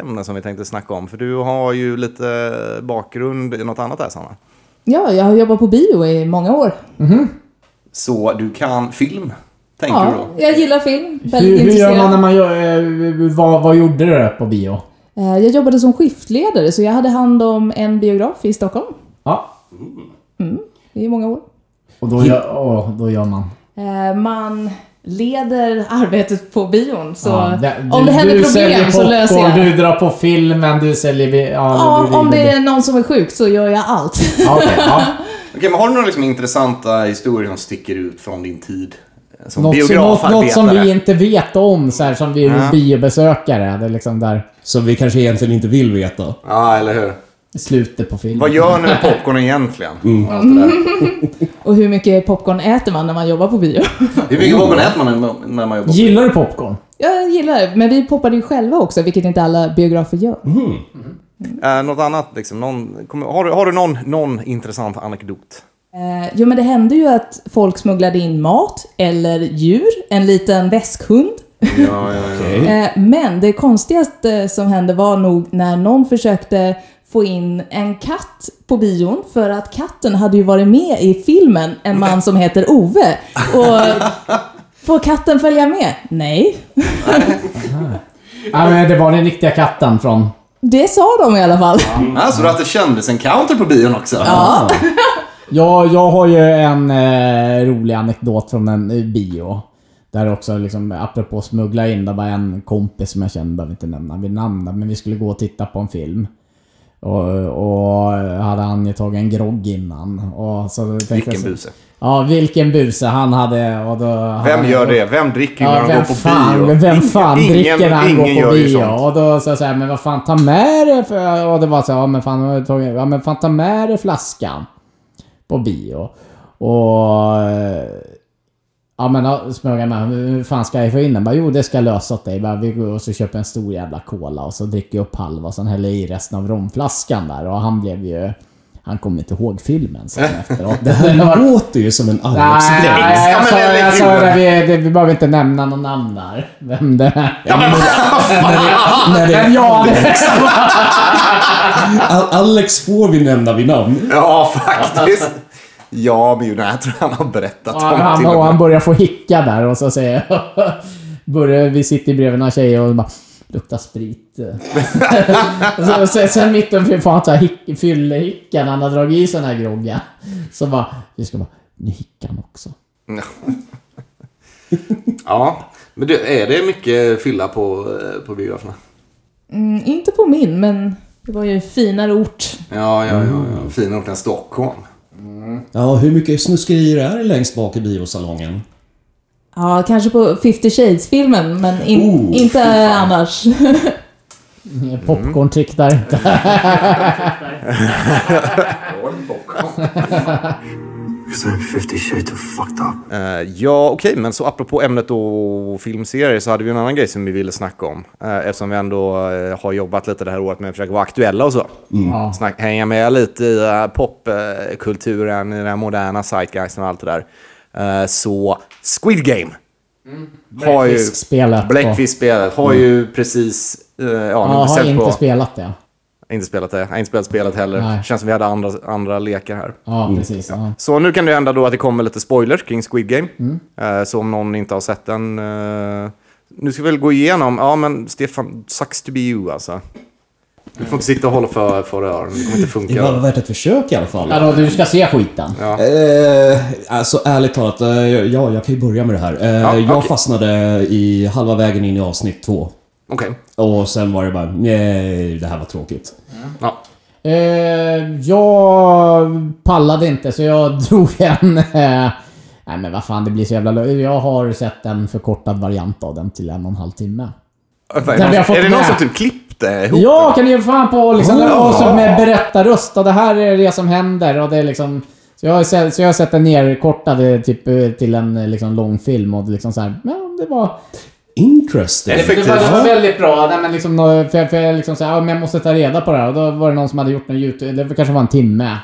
ämne som vi tänkte snacka om. För du har ju lite bakgrund i något annat där Sanna. Ja, jag har jobbat på bio i många år. Så du kan film, tänker du Ja, då? jag gillar film. Väldigt Hur, hur gör intresserad. man när man gör... eh, vad, vad gjorde du på bio? Eh, Jag jobbade som skiftledare, så jag hade hand om en biograf i Stockholm Ja. i många år. Och då gör, åh, då gör man... Eh, Man leder arbetet på bion, så Ja, det- om det händer problem säljer så löser jag popcorn, det. Du drar på filmen, du säljer... vi- Ja, du Ja, om det river- är någon som är sjuk så gör jag allt. Ja, okej, ja. Okej, men har du några liksom intressanta historier som sticker ut från din tid eh, som Något, som- något, biografarbetare? något som vi inte vet om, så här, som vi är biobesökare. Det är liksom där Som vi kanske egentligen inte vill veta. Ja, eller hur? slutet på filmen. Vad gör ni med popcornen egentligen? Och allt det där. Och hur mycket popcorn äter man när man jobbar på bio? Hur mycket popcorn äter man när- när man jobbar? Gillar du popcorn? Jag gillar det, men vi poppade ju själva också, vilket inte alla biografer gör. Eh, något annat liksom? Någon, kommer- har, du, har du någon, någon intressant anekdot? Eh, jo, men det hände ju att folk smugglade in mat eller djur, en liten väskhund. Ja, ja, ja. Eh, men det konstigaste som hände var nog när någon försökte få in en katt på bion för att katten hade ju varit med i filmen En man som heter Ove. Och får katten följa med? Nej. Ja, men det var den riktiga katten från... Det sa de i alla fall. Ah, så du att det kändes en counter på bion också? Ja. Ja, jag har ju en eh, rolig anekdot från en eh, bio. Där också, liksom, apropå smuggla in, det var en kompis som jag kände, behöver inte nämna vid namn, men vi skulle gå och titta på en film. Och, och hade han ju tagit en grogg innan. Och så tänkte jag Vilken så- buse. Ja, vilken buse han hade. Och då, Vem han, gör det? Vem dricker när de vem går på fan, bio? Vem fan Ingen- dricker när han ingen går på gör ju bio? sånt. Och då sa jag såhär, men vad fan ta med dig för... Och det var så här, ja men fan, har du tagit- ja, men fan ta med dig flaskan. På bio. Och... eh, Ja men då smög jag med hur fan ska jag få in den? Bara, jo det ska jag lösa åt dig. Bara, vi går och så köper jag en stor jävla cola och så dricker jag upp halva och sen häller jag i resten av romflaskan där. Och han blev ju... Han kom inte ihåg filmen sen efteråt. Det var- Låter ju som en Nej, Alex-grej. nej, jag men sa, det är jag kul. sa det, vi, det, vi behöver inte nämna någon namn där. Vem det är. När det- Men ja, det, Al- Alex får vi nämna vid namn. Ja, faktiskt. Ja, men ju, nej, jag tror han har berättat om det han, till och och han med. börjar få hicka där och så säger jag... Börjar, vi sitter bredvid några tjejer och bara... Luktar sprit. Och så, sen, sen mitten får han så här hick- fyllehicka när han har dragit i sån här grogga. Så bara... Vi ska bara... Nu hickar han också. Ja, men du, är det mycket fylla på, eh, på biograferna? Mm, inte på min, men det var ju en finare ort. Ja, ja, ja. ja. Mm. Finare ort än Stockholm. Ja, hur mycket snuskerier är det längst bak i biosalongen? Ja, kanske på 50 Shades-filmen, men in, Oh, inte annars. Mm. Popcorn där inte. Because I'm 50 shades of fucked up. Eh, ja, okej, men så apropå ämnet och filmserier så hade vi en annan grej som vi ville snacka om. Eh, eftersom vi ändå eh, har jobbat lite det här året med att försöka vara aktuella och så. Mm. Ja. Snack, hänga med lite i eh, popkulturen, i den här moderna zeitgeisten och allt det där. Eh, så Squid Game. Mm. Har ju- Blackfisk-spelet. Blackfish-spelet har ju precis... eh, ja, Ja, nu har beställt inte på... spelat det. Inte spelat det. Jag har inte spelat spelet heller. Nej. Känns som vi hade andra, andra lekar här. Ja, precis. Ja. Så nu kan det hända då att det kommer lite spoilers kring Squid Game. Mm. Eh, Så om någon inte har sett den. eh, Nu ska vi väl gå igenom. Ja, men Stefan, sucks to be you alltså. Du får inte sitta och hålla för, för öronen. Det kommer inte Det var funka. värt ett försök i alla fall. Alltså, du ska se skiten. Eh, alltså ärligt talat, eh, ja, jag kan ju börja med det här. Eh, Ja, jag okej. fastnade i halva vägen in i avsnitt två. Okej. Och sen var det bara, nej, det här var tråkigt. Ja. Eh, jag pallade inte så jag drog en... Eh, nej men vad fan det blir så jävla lö- Jag har sett en förkortad variant av den till en och en halv timme. Är vi det har någon, fått är det någon med. som typ klippte ihop? Ja, kan du ge fan på liksom, Oh. och så med berättarröst och det här är det som händer och det är liksom... Så jag har sett, så jag har sett den nerkortad eh, typ eh, till en eh, liksom, lång film och det liksom så här, men det var... Interesting. Eller- Effektivt. Det var, det var väldigt bra. Nej, men liksom, nå- för, för jag liksom så här, ja, men jag måste ta reda på det här. Och då var det någon som hade gjort en YouTube, det kanske var en timme.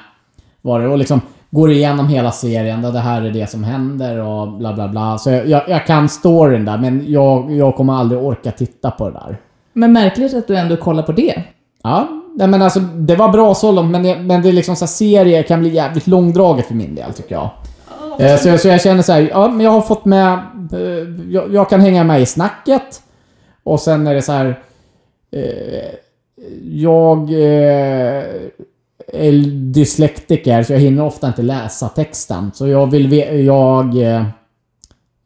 Var det, och liksom går igenom hela serien, där det här är det som händer och bla bla bla. Så jag, jag, jag kan storyn där, men jag, jag kommer aldrig orka titta på det där. Men märkligt att du ändå kollar på det. Ja, nej, men alltså det var bra så långt, men det, men det är liksom så här, serier kan bli jävligt långdraget för min del tycker jag. Eh, Så, jag- så jag känner så här, ja men jag har fått med, eh, jag, jag kan hänga med i snacket. Och sen är det så här, eh, jag eh, är dyslektiker så jag hinner ofta inte läsa texten. Så jag vill, ve- jag, eh,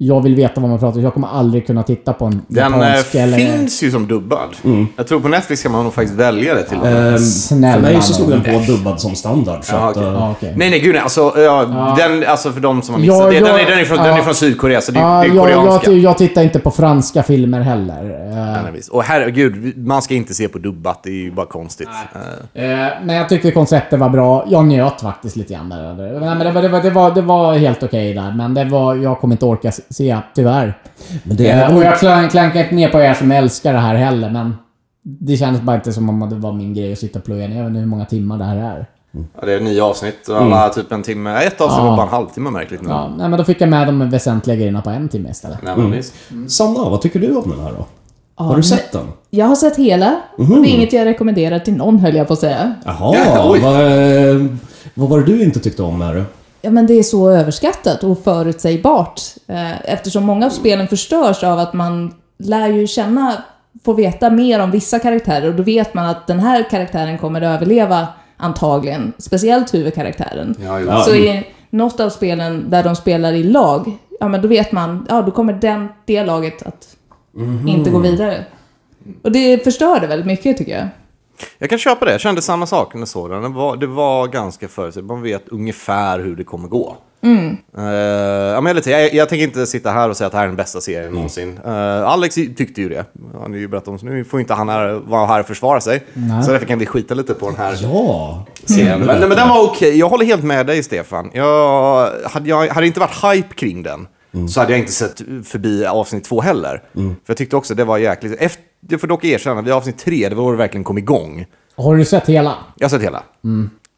jag vill veta vad man pratar om. Jag kommer aldrig kunna titta på en Den eh, japansk eller- Mm. finns ju som dubbad. Jag tror på Netflix kan man nog faktiskt välja det till och med. Eh, Ehm, Snälla för mig så nån. slog den på dubbad som standard. Så Äh. Ja, att, okej. eh, Ja, okej. Nej, nej, gud nej. Alltså, ja, Den, alltså för de som har missat Ja, det. Den, ja, är, den, är från, ja. den är från Sydkorea, så det, Ja, det är Ah, jag, jag, koreanska. ti- jag tittar inte på franska filmer heller. Eh, Annars. Och herregud, man ska inte se på dubbat. Det är ju bara konstigt. Eh, eh, men jag tyckte konceptet var bra. Jag njöt faktiskt lite grann där. över- Nej, men det, var, det, var, det, var, det var helt okej där, men det var, jag kommer inte orka s- se, tyvärr. men det Eh, och är... jag klan- klankar inte ner på er som älskar det här heller, men det kändes bara inte som om det var min grej att sitta och plöja ner. Jag vet inte hur många timmar det här är. Ja, det är nio avsnitt och alla typ en timme. Nej, Ett avsnitt var bara en halvtimme märkligt nog. Ja, Mm. nej, men då fick jag med de väsentliga grejerna på en timme istället. Nej, men visst. Sanna, vad tycker du om den här då? Har du sett den? Jag har sett hela, och det är inget jag rekommenderar till någon höll jag på att säga. Jaha, Ja, oj. vad, eh, vad var det du inte tyckte om med det? Ja, men det är så överskattat och förutsägbart. eh, Eftersom många av spelen förstörs av att man lär ju känna, får veta mer om vissa karaktärer och då vet man att den här karaktären kommer att överleva antagligen. Speciellt huvudkaraktären. Ja, Ja. Så i något av spelen där de spelar i lag, ja men då vet man, ja då kommer den, det laget att inte gå vidare. Och det förstör det väldigt mycket tycker jag. Jag kan köpa det. Jag kände samma sak när jag såg den. Det var, det var ganska förutsägbart. Man vet ungefär hur det kommer gå. Eh, ja, men jag, är lite- jag, jag tänker inte sitta här och säga att det här är den bästa serien någonsin. Eh, Alex tyckte ju det. Han är ju berättat om så nu får ju inte han här, vara här och försvara sig. Så därför kan vi skita lite på den här Ja, serien. Men, nej, men den var okej. Jag håller helt med dig, Stefan. Jag, hade, jag, hade det inte varit hype kring den så hade jag inte sett förbi avsnitt två heller. För jag tyckte också det var jäkligt... Efter, jag får dock erkänna, vid avsnitt tre, det var då det verkligen kom igång. Har du sett hela? Jag har sett hela.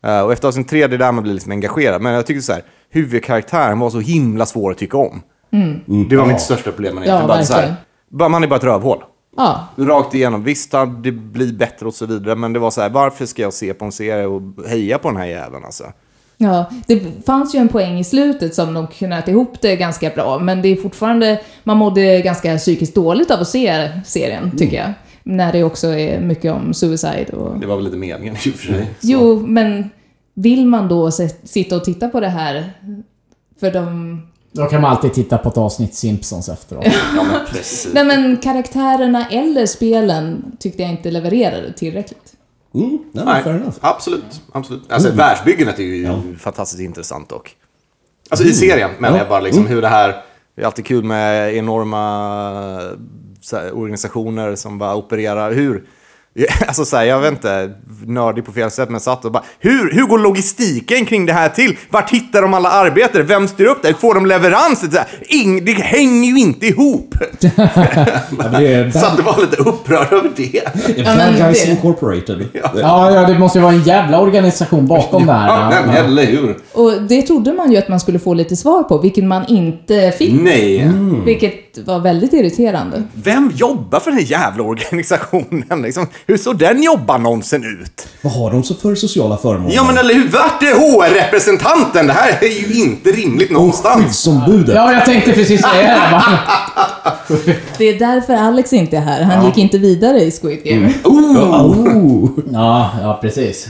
Eh, och efter avsnitt tre, det är där man blir liksom engagerad. Men jag tyckte så här, huvudkaraktären var så himla svår att tycka om. Det var mitt största problem. egentligen. Mm. Ja, bara så här, verkligen. bara, man är bara ett rövhål. Ja, Rakt igenom. Visst, han- det blir bättre och så vidare. Men det var så här, varför ska jag se på en serie och heja på den här jäveln alltså? Ja, det fanns ju en poäng i slutet som de knöt ihop det ganska bra, men det är fortfarande, man mådde ganska psykiskt dåligt av att se serien, tycker jag. När det också är mycket om suicide och... Det var väl lite meningen i och för sig. Jo, men vill man då se- sitta och titta på det här? För de... Då kan man alltid titta på ett avsnitt Simpsons efteråt. Ja, men precis. Nej men karaktärerna eller spelen tyckte jag inte levererade tillräckligt. mm, nej, men Nej, fair enough. Mm. absolut. absolut. Alltså, Världsbyggandet är ju fantastiskt intressant dock. Alltså i serien menar Mm. Ja. Mm. jag bara liksom hur det här... Det är alltid kul med enorma så här, organisationer som bara opererar. Hur Alltså så här, jag vet inte, nördig på fel sätt, men satt och bara hur, hur går logistiken kring det här till? Vart hittar de alla arbetare? Vem styr upp det? Hur får de leveranser? Så här, ing, det hänger ju inte ihop! Ja, men det är Så att bad, du var lite upprörd över det. bad men Guys det- Incorporated. Ja, ja, det måste ju vara en jävla organisation bakom det Ja, här. men, Ja. eller hur? Och det trodde man ju att man skulle få lite svar på, vilket man inte fick. Nej. Vilket var väldigt irriterande. Vem jobbar för den här jävla organisationen? Liksom, hur såg den jobbannonsen ut? Vad har de så för sociala förmåner? Ja men eller hur? Vart är HR-representanten? Det här är ju inte rimligt någonstans. Skyddsombudet. Ja, jag tänkte precis säga det. va? Det är därför Alex inte är här. Han gick inte vidare i Squid Game. Oh. Ja, ja precis.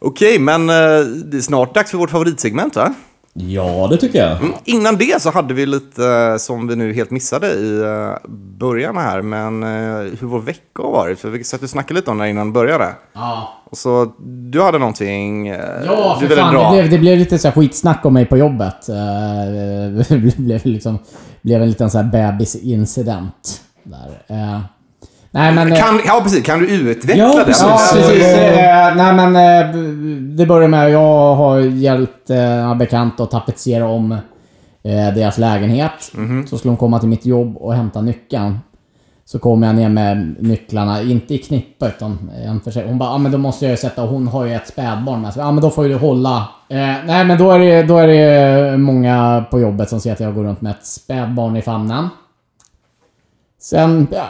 Okej, men eh, det är snart dags för vårt favoritsegment va? Ja, det tycker jag. Innan det så hade vi lite eh, som vi nu helt missade i eh, början här, men eh, hur vår vecka har varit. För vi satt och snackade lite om det här innan vi började. Ja, Och så du hade någonting eh, ja du för fan. Det blev, det blev lite så här skitsnack om mig på jobbet. Eh, Det blev, liksom, blev en liten så här bebisincident. Där. Eh, Nej, men... eh, Kan, ja, precis. Kan du utveckla Ja, det? precis. Ja, Så- precis. Eh, nej, men eh, b- det börjar med att jag har hjälpt eh, en bekant att tapetsera om eh, deras lägenhet. Så skulle hon komma till mitt jobb och hämta nyckeln. Så kom jag ner med nycklarna, inte i knippa utan en för sig. Hon bara, ja ah, men då måste jag ju sätta, och hon har ju ett spädbarn med sig. Ja ah, men då får ju du hålla. Eh, nej men då är, det, då är det många på jobbet som ser att jag går runt med ett spädbarn i famnen. Sen, ja,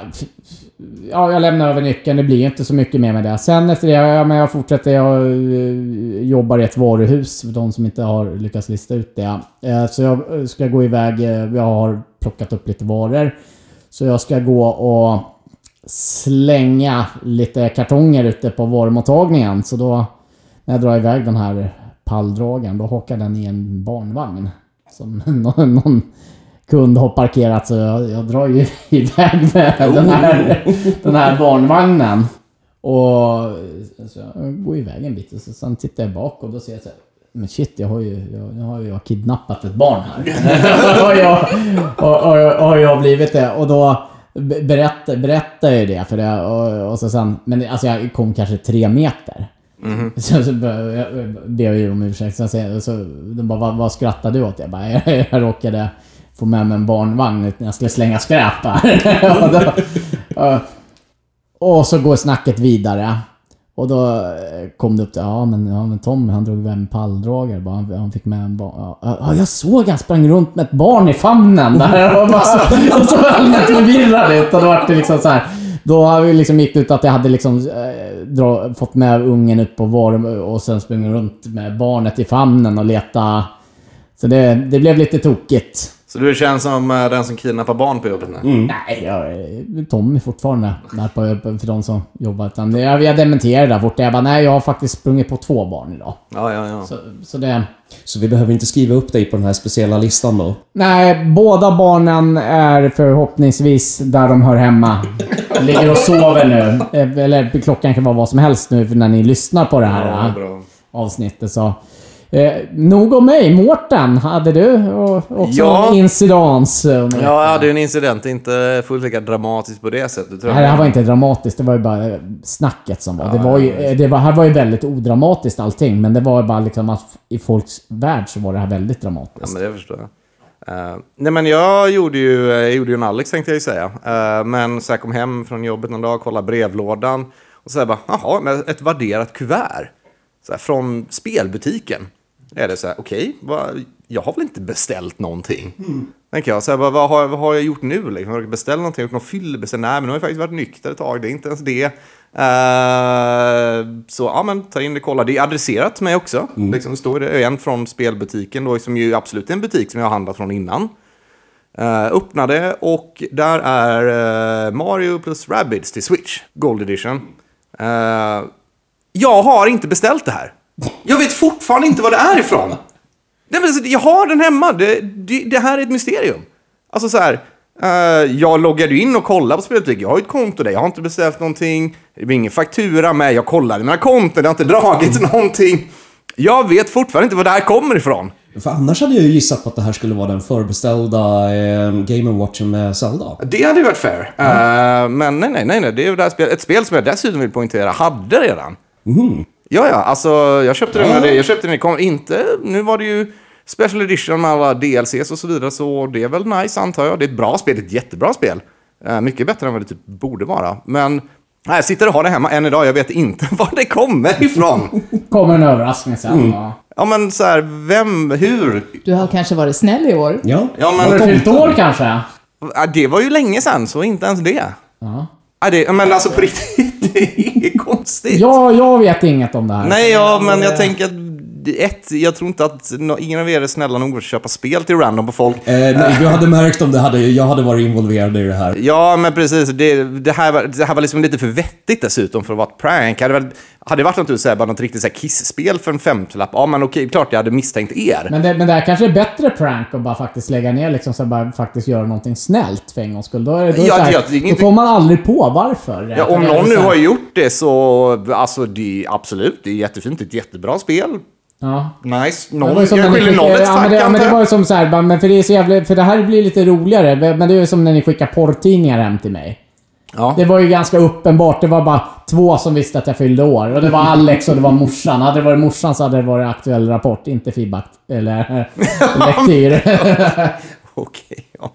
ja, jag lämnar över nyckeln. Det blir ju inte så mycket mer med det. Sen efter det, ja, men jag fortsätter. Jag eh, jobbar i ett varuhus, för de som inte har lyckats lista ut det. Eh, Så jag eh, ska gå iväg. eh, Jag har plockat upp lite varor. Så jag ska gå och slänga lite kartonger ute på varumottagningen. Så då, när jag drar iväg den här palldragaren, då hakar den i en barnvagn. Som någon, någon kund har parkerat så jag, jag drar ju iväg med den, här, den här barnvagnen. Och så jag går iväg en bit och så, sen tittar jag bak och då ser jag så här, men shit, jag har ju, jag, nu har ju jag kidnappat ett barn här. har, jag, har, har, har jag blivit det? Och då be- berättar, berättar jag ju det för det och, och så sen, men det- alltså jag kom kanske tre meter. Så, så bör- jag- ber jag ju om ursäkt. Sen säger, så, de bara, vad, vad skrattar du åt? Jag bara, jag, jag råkade få med mig en barnvagn ut när jag skulle slänga skräp här. och, då, ja. och så går snacket vidare. Och då eh, kom det upp till, ja men, ja, men Tom han drog iväg en palldragare bara. Han, han fick med en barn. Ja, ja, jag såg han sprang runt med ett barn i famnen där. Och bara så, och så allmänt förvirrad ut. Och då var det liksom så här. Då har vi liksom gick det ut att jag hade liksom eh, dra, fått med ungen upp på varum och sen sprungit runt med barnet i famnen och leta. Så det, det blev lite tokigt. Så du känns som eh, den som kidnappar barn på jobbet nu? Nej, jag är eh, Tommy fortfarande där på, på- för de som jobbar. Utan det- jag, jag dementerar där borta. Jag bara, nej jag har faktiskt sprungit på två barn idag. Ja, ja, ja. Så, så det... Så vi behöver inte skriva upp dig på den här speciella listan då? Nej, båda barnen är förhoppningsvis där de hör hemma. Ligger och sover nu. Eh, Eller klockan kan vara vad som helst nu för när ni lyssnar på det här eh, bra. avsnittet. Så. Eh, nog om mig. Mårten, hade du och, också Ja. en incidens? eh, Ja, jag hade ju en incident. Inte fullt lika dramatisk på det sättet. Tror Nej, det här jag. var inte dramatiskt. Det var ju bara eh, snacket som var. det var ju, eh, det var, här var ju väldigt odramatiskt allting, men det var ju bara liksom att f- i folks värld så var det här väldigt Ja, dramatiskt. men det förstår jag. Eh, nej, men jag gjorde ju, jag gjorde ju en Alex tänkte jag ju säga. Eh, men så jag kom hem från jobbet någon dag, kollade brevlådan. Och så här bara, jaha, men ett värderat kuvert. Så här, från spelbutiken. Är det så här, okej, vad- jag har väl inte beställt någonting? Tänker jag, så här, vad, vad, har, vad har jag gjort nu? Liksom? Har jag beställt någonting? Har jag gjort någon fyllebeställning? Nej, men nu har jag faktiskt varit nykter ett tag, det är inte ens det. Eh, så ja, men ta in det, kolla. Det är adresserat till mig också. Liksom, det står det en från spelbutiken, då, som ju absolut är en butik som jag har handlat från innan. Eh, öppnade och där är eh, Mario plus Rabbids till Switch, Gold Edition. Eh, jag har inte beställt det här. Jag vet fortfarande inte vad det är ifrån. Nej, men alltså, jag har den hemma. Det, det, det här är ett mysterium. Alltså så här, Eh, jag loggade ju in och kollade på spelbutik. Jag har ju ett konto där. Jag har inte beställt någonting. Det var ingen faktura med. Jag kollade mina konton. Det har inte dragits någonting. Jag vet fortfarande inte var det här kommer ifrån. För annars hade jag ju gissat på att det här skulle vara den förbeställda eh, Game Watchen med Zelda. Det hade ju varit fair. Eh, men nej, nej, nej, nej. Det är ju det här spelet. Ett spel som jag dessutom vill poängtera hade redan. Ja, ja. Alltså, jag köpte det när det, jag köpte det när det kom. Inte, nu var det ju special edition med alla DLCs och så vidare. Så det är väl nice, antar jag. Det är ett bra spel. Det är ett jättebra spel. Eh, mycket bättre än vad det typ borde vara. Men nej, jag sitter och har det hemma än idag. Jag vet inte var det kommer ifrån. Kommer en överraskning sen. Mm. Ja. ja, men så här, vem, hur? Du har kanske varit snäll i år. Ja. Ja, men- Vad Har du fyllt tomten? år kanske? Ja, det var ju länge sedan, så inte ens det. Ja. Ja, det men alltså på riktigt, det är konstigt. Ja, jag vet inget om det här. Nej, ja, men jag tänker att ett, jag tror inte att nå- ingen av er är snälla nog att köpa spel till random på folk. Eh, nej, du hade märkt om det hade, jag hade varit involverad i det här. Ja, men precis. Det, det, här, var, det här var liksom lite för vettigt dessutom för att vara ett prank. Hade, väl, hade det varit något, så här, bara något riktigt så här kissspel för en femtiolapp, ja men okej, klart jag hade misstänkt er. Men det, men det här kanske är bättre prank att bara faktiskt lägga ner liksom, så bara faktiskt göra någonting snällt för en gångs skull. Då, är det, då, är det Ja, så här, ja, det är då inget- får man aldrig på varför. Ja, om För det är någon så nu här- har gjort det så, alltså det är absolut, det är jättefint, det är ett jättebra spel. Ja. Nice. Det Någon, var ju som när jag ni skyller skickade- någon ett ja, men tack, det, ja, men det antar var jag. ju som så här, bara, men för det är så jävla, för det här blir lite roligare. Men det är ju som när ni skickar porrtidningar hem till mig. Ja. Det var ju ganska uppenbart. Det var bara två som visste att jag fyllde år. Och det var Alex och det var morsan. Hade det varit morsan så hade det varit aktuell rapport, inte feedback eller lektyr. Okej, ja.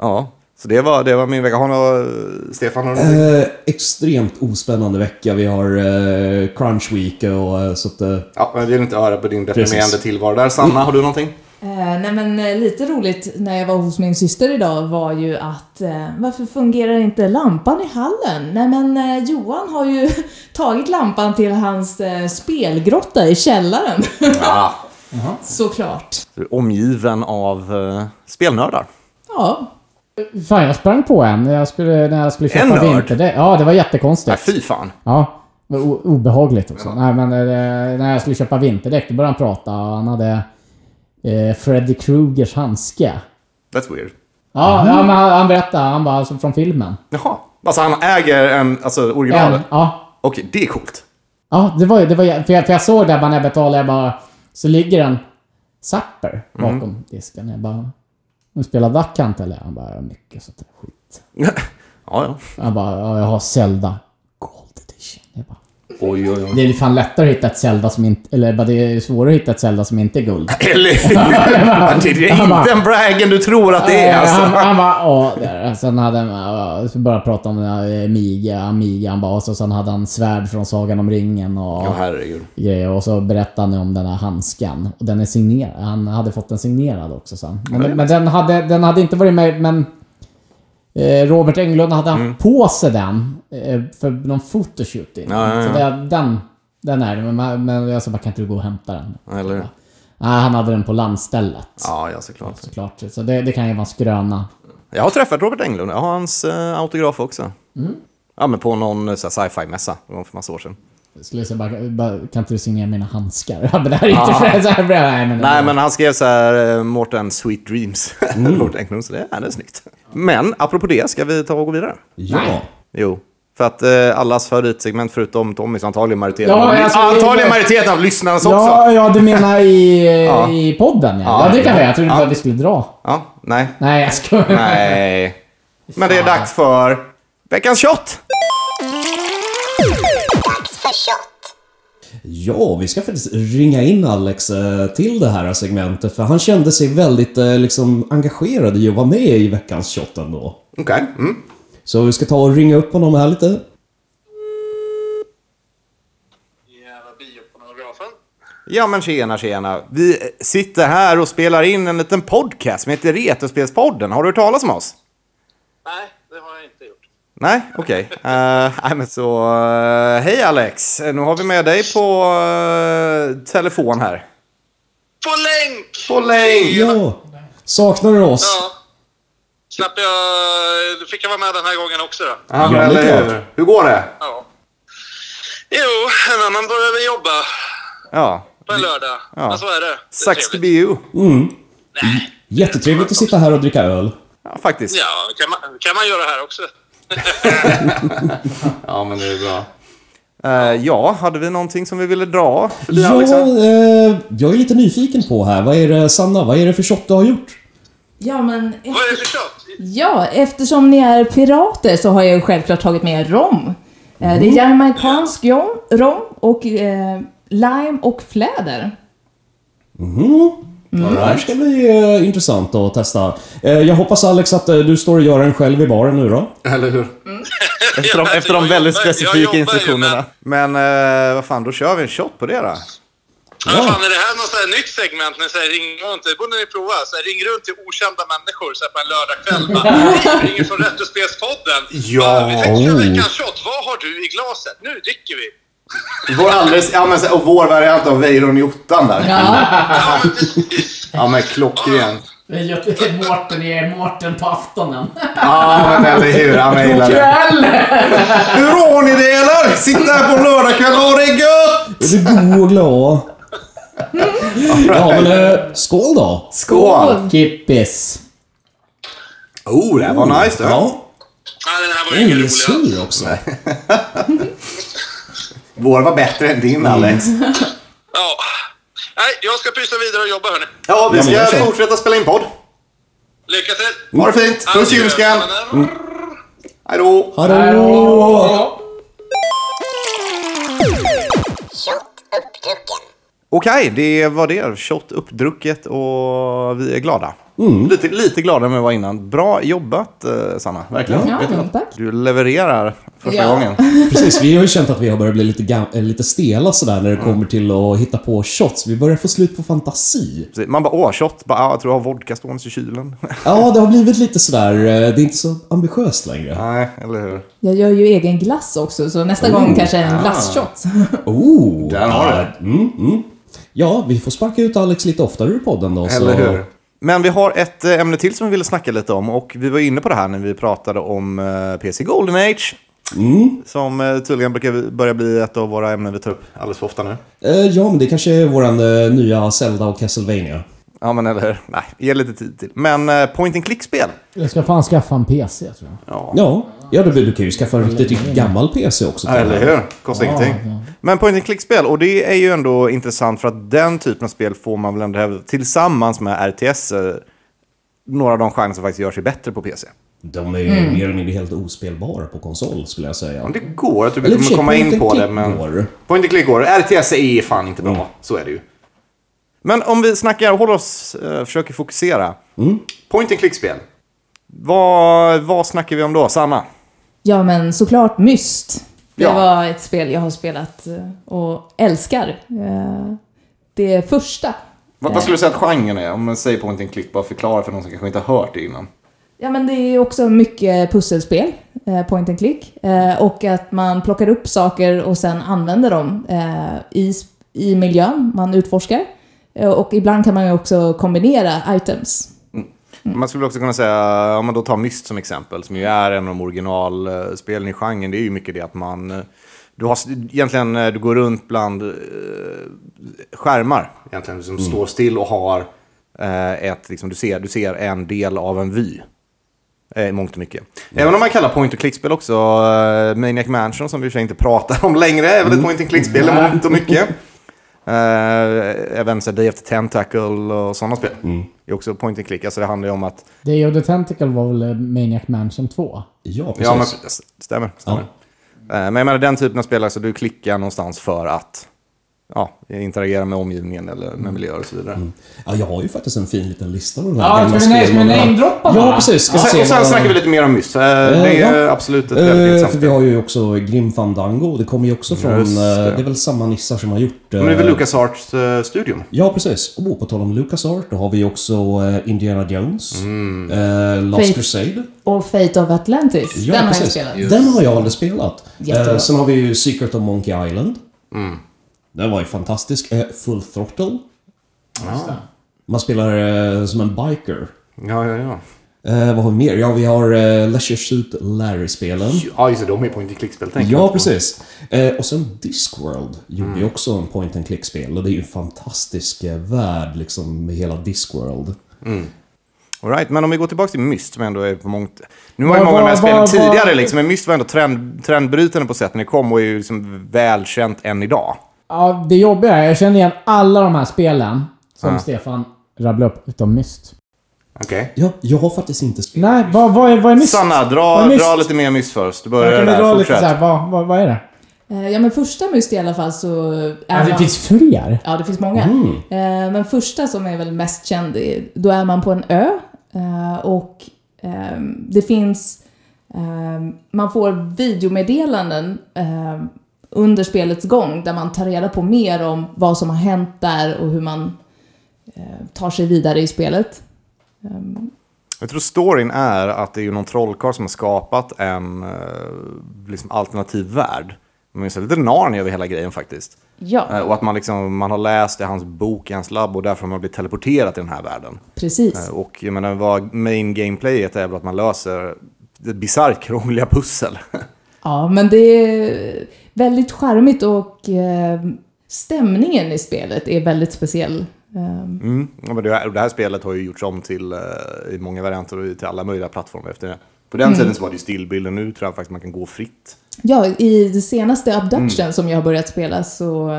Ja, så det var, det var min vecka. Har några, Stefan, har du någonting? Eh, extremt ospännande vecka. Vi har eh, crunch week och eh, så att... Eh, Ja, men jag vill inte höra på din deprimerande Precis. tillvaro där. Sanna, har du någonting? Eh, nej men eh, lite roligt när jag var hos min syster idag var ju att eh, varför fungerar inte lampan i hallen? Nej men eh, Johan har ju tagit lampan till hans eh, spelgrotta i källaren. Ja. Såklart. Omgiven av eh, spelnördar. Ja. Fan, jag sprang på en när jag skulle, när jag skulle En köpa nörd? vinterdäck. Ja, det var Nej, jättekonstigt. fy fan. Ja. det var o- Obehagligt också. Nej, men eh, när jag skulle köpa vinterdäck, då började han prata och han hade eh, Freddy Krugers handske. That's weird. Ja, ja men han, han berättade. Han bara, alltså från filmen. Jaha. Alltså han äger en, alltså originalet? En, ja. Okej, det är coolt. Ja, det var ju... Det var, ju- för, jag, för jag såg där bara när jag betalade, jag bara... Så ligger en Zapper Mm. bakom disken. Jag bara... Hon spelar Duck Hunt eller? Han bara, ja, mycket sånt där skit. ja, ja. Han bara, ja, jag har Zelda Gold Edition. Jag bara, Oj, oj, oj. det är ju fan lättare att hitta ett Zelda som inte... Eller bara, det är ju svårare att hitta ett Zelda som inte är guld. Eller hur? Det är inte en braggen du tror att det är Eh, Han, alltså. han bara, ja, där. Sen hade han, ja, så började prata om eh, Amiga, Amiga. Han bara, och så sen hade han svärd från Sagan om ringen och... Ja, herregud. grejer och så berättade han om den här handskan. Och den är signerad. Han hade fått den signerad också sen. Men, men den, hade, den hade inte varit med, men eh, Robert Englund hade haft Mm. på sig den eh, för någon fotoshooting. Ja, ja, Så ja. det, den, den är det. Men, man- men jag sa bara, kan inte du gå och hämta den? Eller hur? Nej, han hade den på landstället. Ja, ja, såklart. Såklart. Så det, det kan ju vara en skröna. Jag har träffat Robert Englund. Jag har hans eh, autograf också. Mm. Ja, men på någon eh, så här sci-fi-mässa. Det var för massa år sedan. Jag skulle säga bara, bara, kan inte du signera mina handskar? Ja, men det här är inte för så här, nej, men, Nej, men han skrev så här, eh, Mårten Sweet Dreams. Mm. Robert Englund, så det, ja, det är snyggt. Men apropå det, ska vi ta och gå vidare? ja. Jo. För att eh, allas favoritsegment förutom Tommys, antagligen majoriteten, Ja, av, alltså, antagligen det- majoriteten av lyssnarnas Ja, också. ja, du menar i, i podden ja. ja. det kan vi Jag trodde bara vi skulle dra. Ja, nej. Nej, jag skojar. Nej. Men det är dags för veckans shot! Ja, vi ska faktiskt ringa in Alex eh, till det här segmentet för han kände sig väldigt eh, liksom, engagerad i att vara med i veckans shot ändå. Okej. Mm. Så vi ska ta och ringa upp honom här lite. Ja men tjena tjena. Vi sitter här och spelar in en liten podcast som heter Retrospelspodden. Har du hört talas om oss? Nej, det har jag inte gjort. Nej, okej. Eh, nej, men så... eh, hej Alex! Eh, Nu har vi med dig på eh, telefon här. På länk! På länk! Ja! Saknar du oss? Ja. Slapp jag... Då fick jag vara med den här gången också då. Ja, men Ja, det är eller hur? klart. Hur går det? Ja. Jo, en annan börjar väl jobba Ja. på en lördag. Ja. Men så är det. det är Sucks to be trevligt. you. Jättetrevligt att sitta här och dricka öl. Ja, faktiskt. Ja, kan man, kan man göra här också. Ja, men det är bra. Eh, ja, hade vi någonting som vi ville dra? förbi, Ja, Alexa? eh, jag är lite nyfiken på här. Vad är det, Sanna, vad är det för shot du har gjort? Ja, men... Vad är det för shot? Ja, eftersom ni är pirater så har jag ju självklart tagit med rom. Eh, Det är jamaicansk jom- rom och eh, lime och fläder. Det här ska bli eh, intressant att testa. Eh, jag hoppas Alex att eh, du står och gör den själv i baren nu då. Eller hur? Efter de, efter de Jag väldigt jobbar- jag jobbar specifika ju instruktionerna. med- Men eh, vad fan, då kör vi en shot på det då. Ja. Vad fan, är det här något så här nytt segment? När så här, ring runt, det borde ni prova. Så här, ring runt till okända människor så här, på en lördagkväll. Bara, "Vi Ringer från Retrospelspodden. Ja. Vi tänkte köra veckans shot. Vad har du i glaset? Nu dricker vi. Vår alldeles, ja, men, så- och vår variant av Weiron i ottan där. Ja, Ja, men precis. Ja, men klockren. Det är Mårten, det är Mårten på aftonen. Ja, men eller hur? Ja, men jag gillar det. Hur har ni det eller? Sitta här på en lördagkväll och ha det gött! Är du god och glad? Ja, men eh, skål då! Skål! Kippis. Oh, det här var nice. Ja. Ja, Nej, den här var ju den är ingen ju rolig alls. sur också. Vår var bättre än Mm. din, Alex. Ja. Nej, jag ska pyssla vidare och jobba hörni. Ja, vi Ja, men ska gör så. fortsätta spela in podd. Lycka till! Ha det fint. Puss i ljumsken. Mm. Hej då. Hallå! Okej, det var det. Shot uppdrucket och vi är glada. Mm. Lite, lite gladare än vi var innan. Bra jobbat eh, Sanna, verkligen. ja Jättebra. tack. Du levererar första Ja. gången. Precis, vi har ju känt att vi har börjat bli lite, gam- eh, lite stela sådär när det Mm. kommer till att hitta på shots. Vi börjar få slut på fantasi. Precis. Man bara, åh, shot. Bara, ah, jag tror jag har vodka stående i kylen. Ja, det har blivit lite sådär, eh, det är inte så ambitiöst längre. Nej, eller hur? Jag gör ju egen glass också, så nästa gång kanske en glasshot. Oh! Där har du det. Mm, mm. Ja, vi får sparka ut Alex lite oftare ur podden då. Eller så... hur? Men vi har ett eh, ämne till som vi ville snacka lite om och vi var inne på det här när vi pratade om eh, PC Golden Age. Som eh, tydligen brukar börja bli ett av våra ämnen vi tar upp alldeles för ofta nu. Eh, Ja, men det kanske är våran eh, nya Zelda och Castlevania. Ja, men eller hur? Nej, ge lite tid till. Men eh, point and click-spel. Jag ska fan skaffa en PC tror jag. Ja, ja du, du kan ju skaffa en riktigt, riktigt gammal PC också. tror jag. Eller hur? Kostar ingenting. Men point and click-spel, och det är ju ändå intressant för att den typen av spel får man väl ändå hävda tillsammans med RTS, eh, några av de genrer som faktiskt gör sig bättre på PC. De är ju Mm. mer eller mindre helt ospelbara på konsol skulle jag säga. Ja, Det går, jag tror vi Eller i och för kommer sig, komma in point and på det. click Men... går. Point and click går. RTS är fan inte bra. Så är det ju. Men om vi snackar, håller oss, eh, försöker fokusera. Mm. Point and click-spel. Vad, vad snackar vi om då, Sanna? Ja, men såklart Myst. Det Ja. var ett spel jag har spelat eh, och älskar. Eh, Det första. Vad, vad skulle du säga att genren är? Om man säger point and click, bara förklara för någon som kanske inte har hört det innan. Ja, men det är också mycket pusselspel, eh, point and click. Eh, Och att man plockar upp saker och sen använder dem eh, i, sp- i miljön man utforskar. Eh, Och ibland kan man ju också kombinera items. Man skulle också kunna säga, om man då tar Myst som exempel, som ju är en av de originalspelen i genren, det är ju mycket det att man... eh, Du har s- egentligen, eh, du går runt bland eh, skärmar. Egentligen som står still och har... Eh, ett, liksom, du, ser, du ser en del av en vy. Eh, i mångt och mycket. Även om man kallar point and click-spel också, eh, Maniac Mansion som vi i och för sig inte pratar om längre, är väl ett point and click-spel i mångt och mycket. Eh, även så här, Day After Tentacle och sådana spel. Det är också point and click, alltså det handlar ju om att Day of the Tentacle var väl Maniac Mansion 2? Ja, precis. Ja, men s- stämmer. stämmer. Eh, Men jag menar den typen av spel, alltså du klickar någonstans för att ja, interagera med omgivningen eller med miljöer och så vidare. Mm. Ja, jag har ju faktiskt en fin liten lista av de här Ja, gamla ska vi name- spelen. ska vi namedroppa Ja, bara? precis. Ska Och vi sen, se och sen vad- snackar vi lite mer om Myst. Eh, Det Eh, är ja. absolut ett väldigt Eh, intressant för vi spel. har ju också Grim Fandango. Det kommer ju också från... Just eh, det. Det är väl samma nissar som har gjort... Men det är väl eh, Lucas Arts studion Ja, precis. Och på tal om Lucas Art, då har vi ju också eh, Indiana Jones. Mm. eh, Last Fate. Crusade. Och Fate of Atlantis, Ja, den har jag precis. spelat. Den har jag aldrig spelat. Jättebra. Eh, sen har vi ju Secret of Monkey Island. Mm. Den var ju fantastisk. Eh, Full Throttle. Man spelar eh, som en biker. Ja, ja, ja. Eh, vad har vi mer? Ja, vi har eh, Leisure Suit Larry-spelen. Ja, just det. De är point and click-spel, tänker jag Ja, på. precis. Eh, och sen Discworld gjorde Mm. ju också en point and click-spel. Och det är ju en fantastisk eh, värld liksom med hela Discworld. All right, men om vi går tillbaka till Myst som ändå är på mångt... Nu var ju Vad- många av de här vad- spelen vad- tidigare vad- liksom, men Myst var ändå trend, trendbrytande på sätt när det kom och är ju liksom välkänt än idag. Ja, det jobbiga är jag känner igen alla de här spelen som Ja. Stefan rabblade upp, utom Myst. Okej. Ja, jag har faktiskt inte spelat. Nej, vad, vad, är, vad är Myst? Sanna, dra, Vad är dra Myst? lite mer Myst först. Du Jag börjar kan där, dra lite så fortsätt. här, vad, vad, vad är det? Eh, Ja men första Myst i alla fall så... Är Ja, det man- finns fler. Ja, det finns många. Mm. Eh, Men första som är väl mest känd, är- då är man på en ö eh, och eh, det finns... eh, Man får videomeddelanden eh, under spelets gång där man tar reda på mer om vad som har hänt där och hur man eh, tar sig vidare i spelet. Jag tror storyn är att det är ju någon trollkarl som har skapat en eh, liksom alternativ värld. Man minns lite Narnia över hela grejen faktiskt. Eh, Ja, Och att man, liksom, man har läst i hans bok, i hans labb och därför har man blivit teleporterad till den här världen. precis. Eh, Och jag menar, vad main gameplayet är väl att man löser bisarrt krångliga pussel. Ja, men det är väldigt charmigt och eh, stämningen i spelet är väldigt speciell. Eh, Mm. Ja, men det, här, det här spelet har ju gjorts om till, eh, i många varianter och till alla möjliga plattformar efter det. På den tiden så var det ju stillbilden, nu tror jag faktiskt man kan gå fritt. Ja, i det senaste Abduction som jag har börjat spela så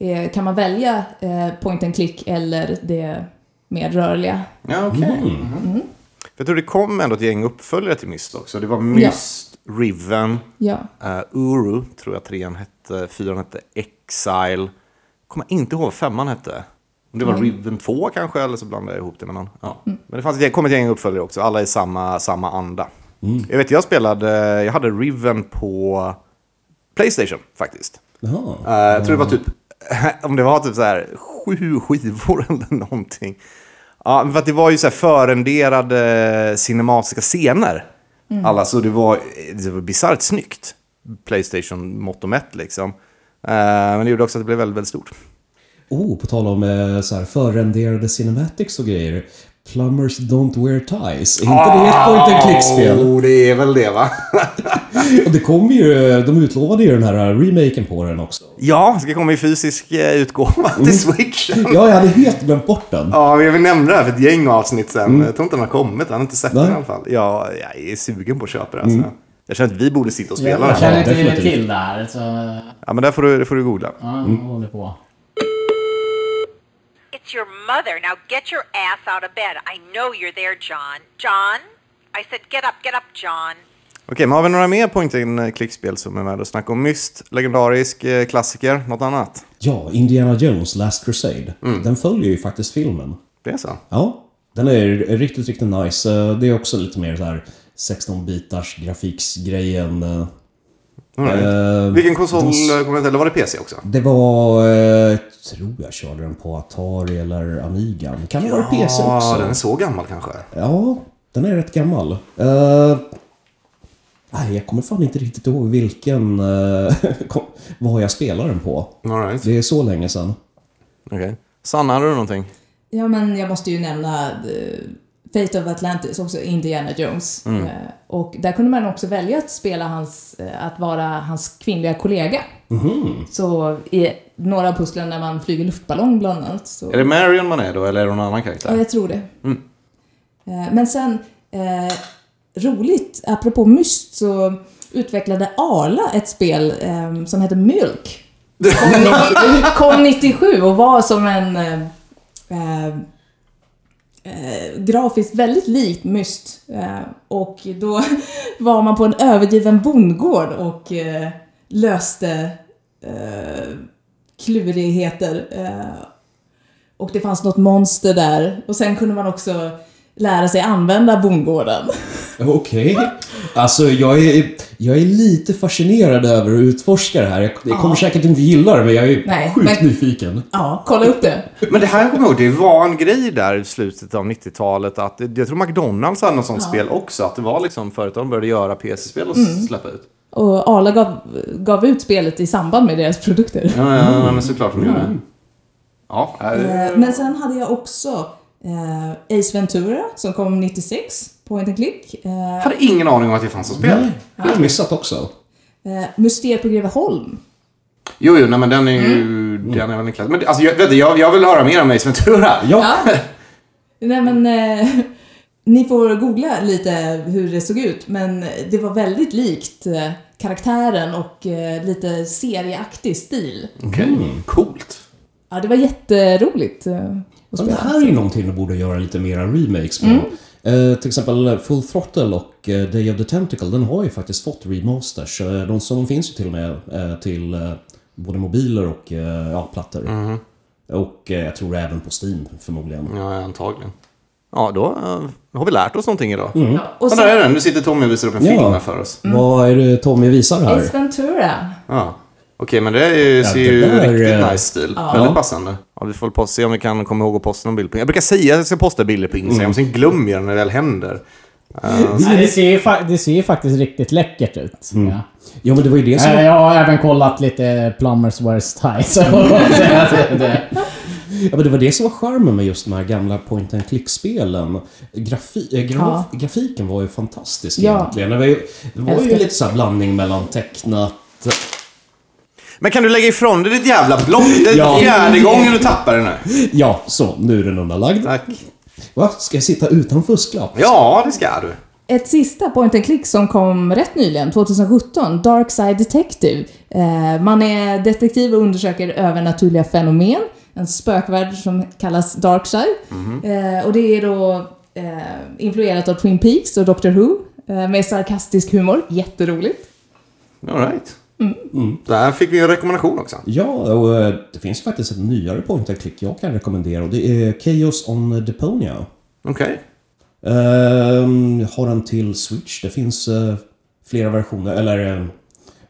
eh, kan man välja eh, point and click eller det mer rörliga. Ja, okej. Mm. För Jag tror det kom ändå ett gäng uppföljare till Myst också. Det var Myst, Riven, Ja. eh, Uru, tror jag trean hette, fyran hette Exile. Kommer jag inte ihåg vad femman hette. Om det var Riven 2 kanske, eller så blandade jag ihop det med någon. Ja. Men det fanns ett gäng, kom ett gäng uppföljare också, alla i samma, samma anda. Jag vet, jag spelade, jag hade Riven på Playstation faktiskt. Jaha. Eh, jag tror det var typ, om det var typ så här sju skivor eller någonting. Ja, men för att det var ju så här förenderade cinematiska scener. Alla, så det var, det var bisarrt snyggt. Playstation mått och mätt liksom. Eh, men det gjorde också att det blev väldigt, väldigt stort. Oh, på tal om eh, så här, förrenderade cinematics och grejer. Plumbers don't wear ties. Är inte det ett point and click-spel? Oh, det är väl det va? Och det kommer ju, eh, de utlovade ju den här eh, remaken på den också. ja, det ska komma i fysisk eh, utgåva till Switch. Ja, jag hade helt glömt bort den. Ja, men jag vill nämna det här för ett gäng avsnitt sen. Jag tror inte den har kommit, han har inte sett Nej. den i alla fall. Ja, jag är sugen på att köpa det alltså. Jag känner att vi borde sitta och spela Jag den. känner inte definitivt. till det här, så... Ja, men där får du, det får du googla. Ja, håller på. It's your mother. Now get your ass out of bed. I know you're there, John. John? I said get up, get up, John. Okej, men har vi några mer point in eh, klickspel som är med och snacka om? Myst, legendarisk eh, klassiker, något annat? Ja, Indiana Jones Last Crusade. Den följer ju faktiskt filmen. Det är så? Ja, den är riktigt, riktigt nice. Eh, Det är också lite mer så här 16-bitars grafiksgrejen. eh. All right. Eh, Vilken konsol de- eh, kom den till? Eller var det PC också? Det var, eh, tror jag körde den på Atari eller Amiga. Men Kan det vara PC också? den är så gammal kanske. Ja, den är rätt gammal. Eh, nej, jag kommer fan inte riktigt ihåg vilken... eh, kom, vad jag spelar den på. All right. Det är så länge sedan. Okej. Sanna, har du någonting? Ja, men jag måste ju nämna eh, Fate of Atlantis, också Indiana Jones. Eh, och där kunde man också välja att spela hans, eh, att vara hans kvinnliga kollega. Så i några av pusslen när man flyger luftballong bland annat. Så... Är det Marion man är då, eller är det någon annan karaktär? Ja, jag tror det. Eh, Men sen, eh, roligt, apropå Myst så utvecklade Arla ett spel eh, som hette Mjölk. Kom, kom 97 och var som en eh, eh, eh, grafiskt väldigt likt Myst. Eh, och då var man på en övergiven bondgård och eh, löste eh, klurigheter. Eh, och det fanns något monster där. Och sen kunde man också lära sig använda bondgården. Okej. Alltså, jag är, jag är lite fascinerad över att utforska det här. Jag, jag kommer säkert inte gilla det, men jag är Nej, sjukt men- nyfiken. Ja, kolla upp det. Men det här kommer jag ihåg, det var en grej där i slutet av 90-talet. Att, jag tror McDonalds hade något sånt spel också. Att det var liksom företagen började göra PC-spel och Mm. släppa ut. Och Arla gav, gav ut spelet i samband med deras produkter. Ja, ja, ja, men såklart de gjorde det. Mm. Ja, Eh, Men sen hade jag också eh, Ace Ventura som kom 96, Point and Click. Eh, jag hade ingen aning om att det fanns något spel. Nej, det har jag missat också. eh, Mysteriet på Greveholm. Jo, jo, nej, men den är ju... Den är väl en klass. Men alltså, jag, vet du, jag, jag vill höra mer om Ace Ventura. Ja. Nej men, eh, Ni får googla lite hur det såg ut, men det var väldigt likt eh, karaktären och eh, lite serieaktig stil. Okej, Mm. coolt. Ja, det var jätteroligt eh, att Ja, Det spela. här är ju någonting de borde göra lite mera remakes på. Mm. Eh, till exempel Full Throttle och eh, Day of the Tentacle, den har ju faktiskt fått remasters. Eh, de, så de finns ju till och med eh, till eh, både mobiler och eh, ja, plattor. Och eh, jag tror även på Steam förmodligen. Ja, antagligen. Ja, då eh, har vi lärt oss någonting idag. Och Ja, sen där är den. Nu sitter Tommy och visar upp en Mm. Ja. film här för Mm. oss. Vad är det Tommy visar här? Ace Ventura. Ja. Okej, men det är ju, ser det ju där, riktigt eh, nice stil. Väldigt passande. Ja, vi får posta, se om vi kan komma ihåg att posta någon bild på Jag brukar säga att jag ska posta bilder på Instagram, Mm. sen glömmer jag när det väl händer. Nej, det, ser ju fa- det ser ju faktiskt riktigt läckert ut. Ja. Ja, men det var ju det som... Eh, Jag har även kollat lite Plumbers Worst Tie. Så det, det. Ja, men det var det som var charmen med just de här gamla point and click-spelen. Grafi äh, graf Grafiken var ju fantastisk Ja. egentligen. Det var ju, det var ju Älskar. lite så här blandning mellan tecknat... Men kan du lägga ifrån dig ditt jävla block? Det är Ja. fjärde gången du tappar det nu. Ja, så. Nu är den undanlagd. Tack. Va? Ska jag sitta utan fusklapp? Ja, det ska du. Ett sista point and click som kom rätt nyligen, 2017, Dark Side Detective. Eh, man är detektiv och undersöker övernaturliga fenomen. En spökvärld som kallas Dark Side. Eh, och det är då eh, influerat av Twin Peaks och Doctor Who. Eh, med sarkastisk humor. Jätteroligt. All right. Mm. Där fick vi en rekommendation också. Ja, och eh, det finns ju faktiskt ett nyare point and click jag kan rekommendera och det är Chaos on Deponia. Okej. Ehm, jag har den till Switch. Det finns eh, flera versioner, eller eh,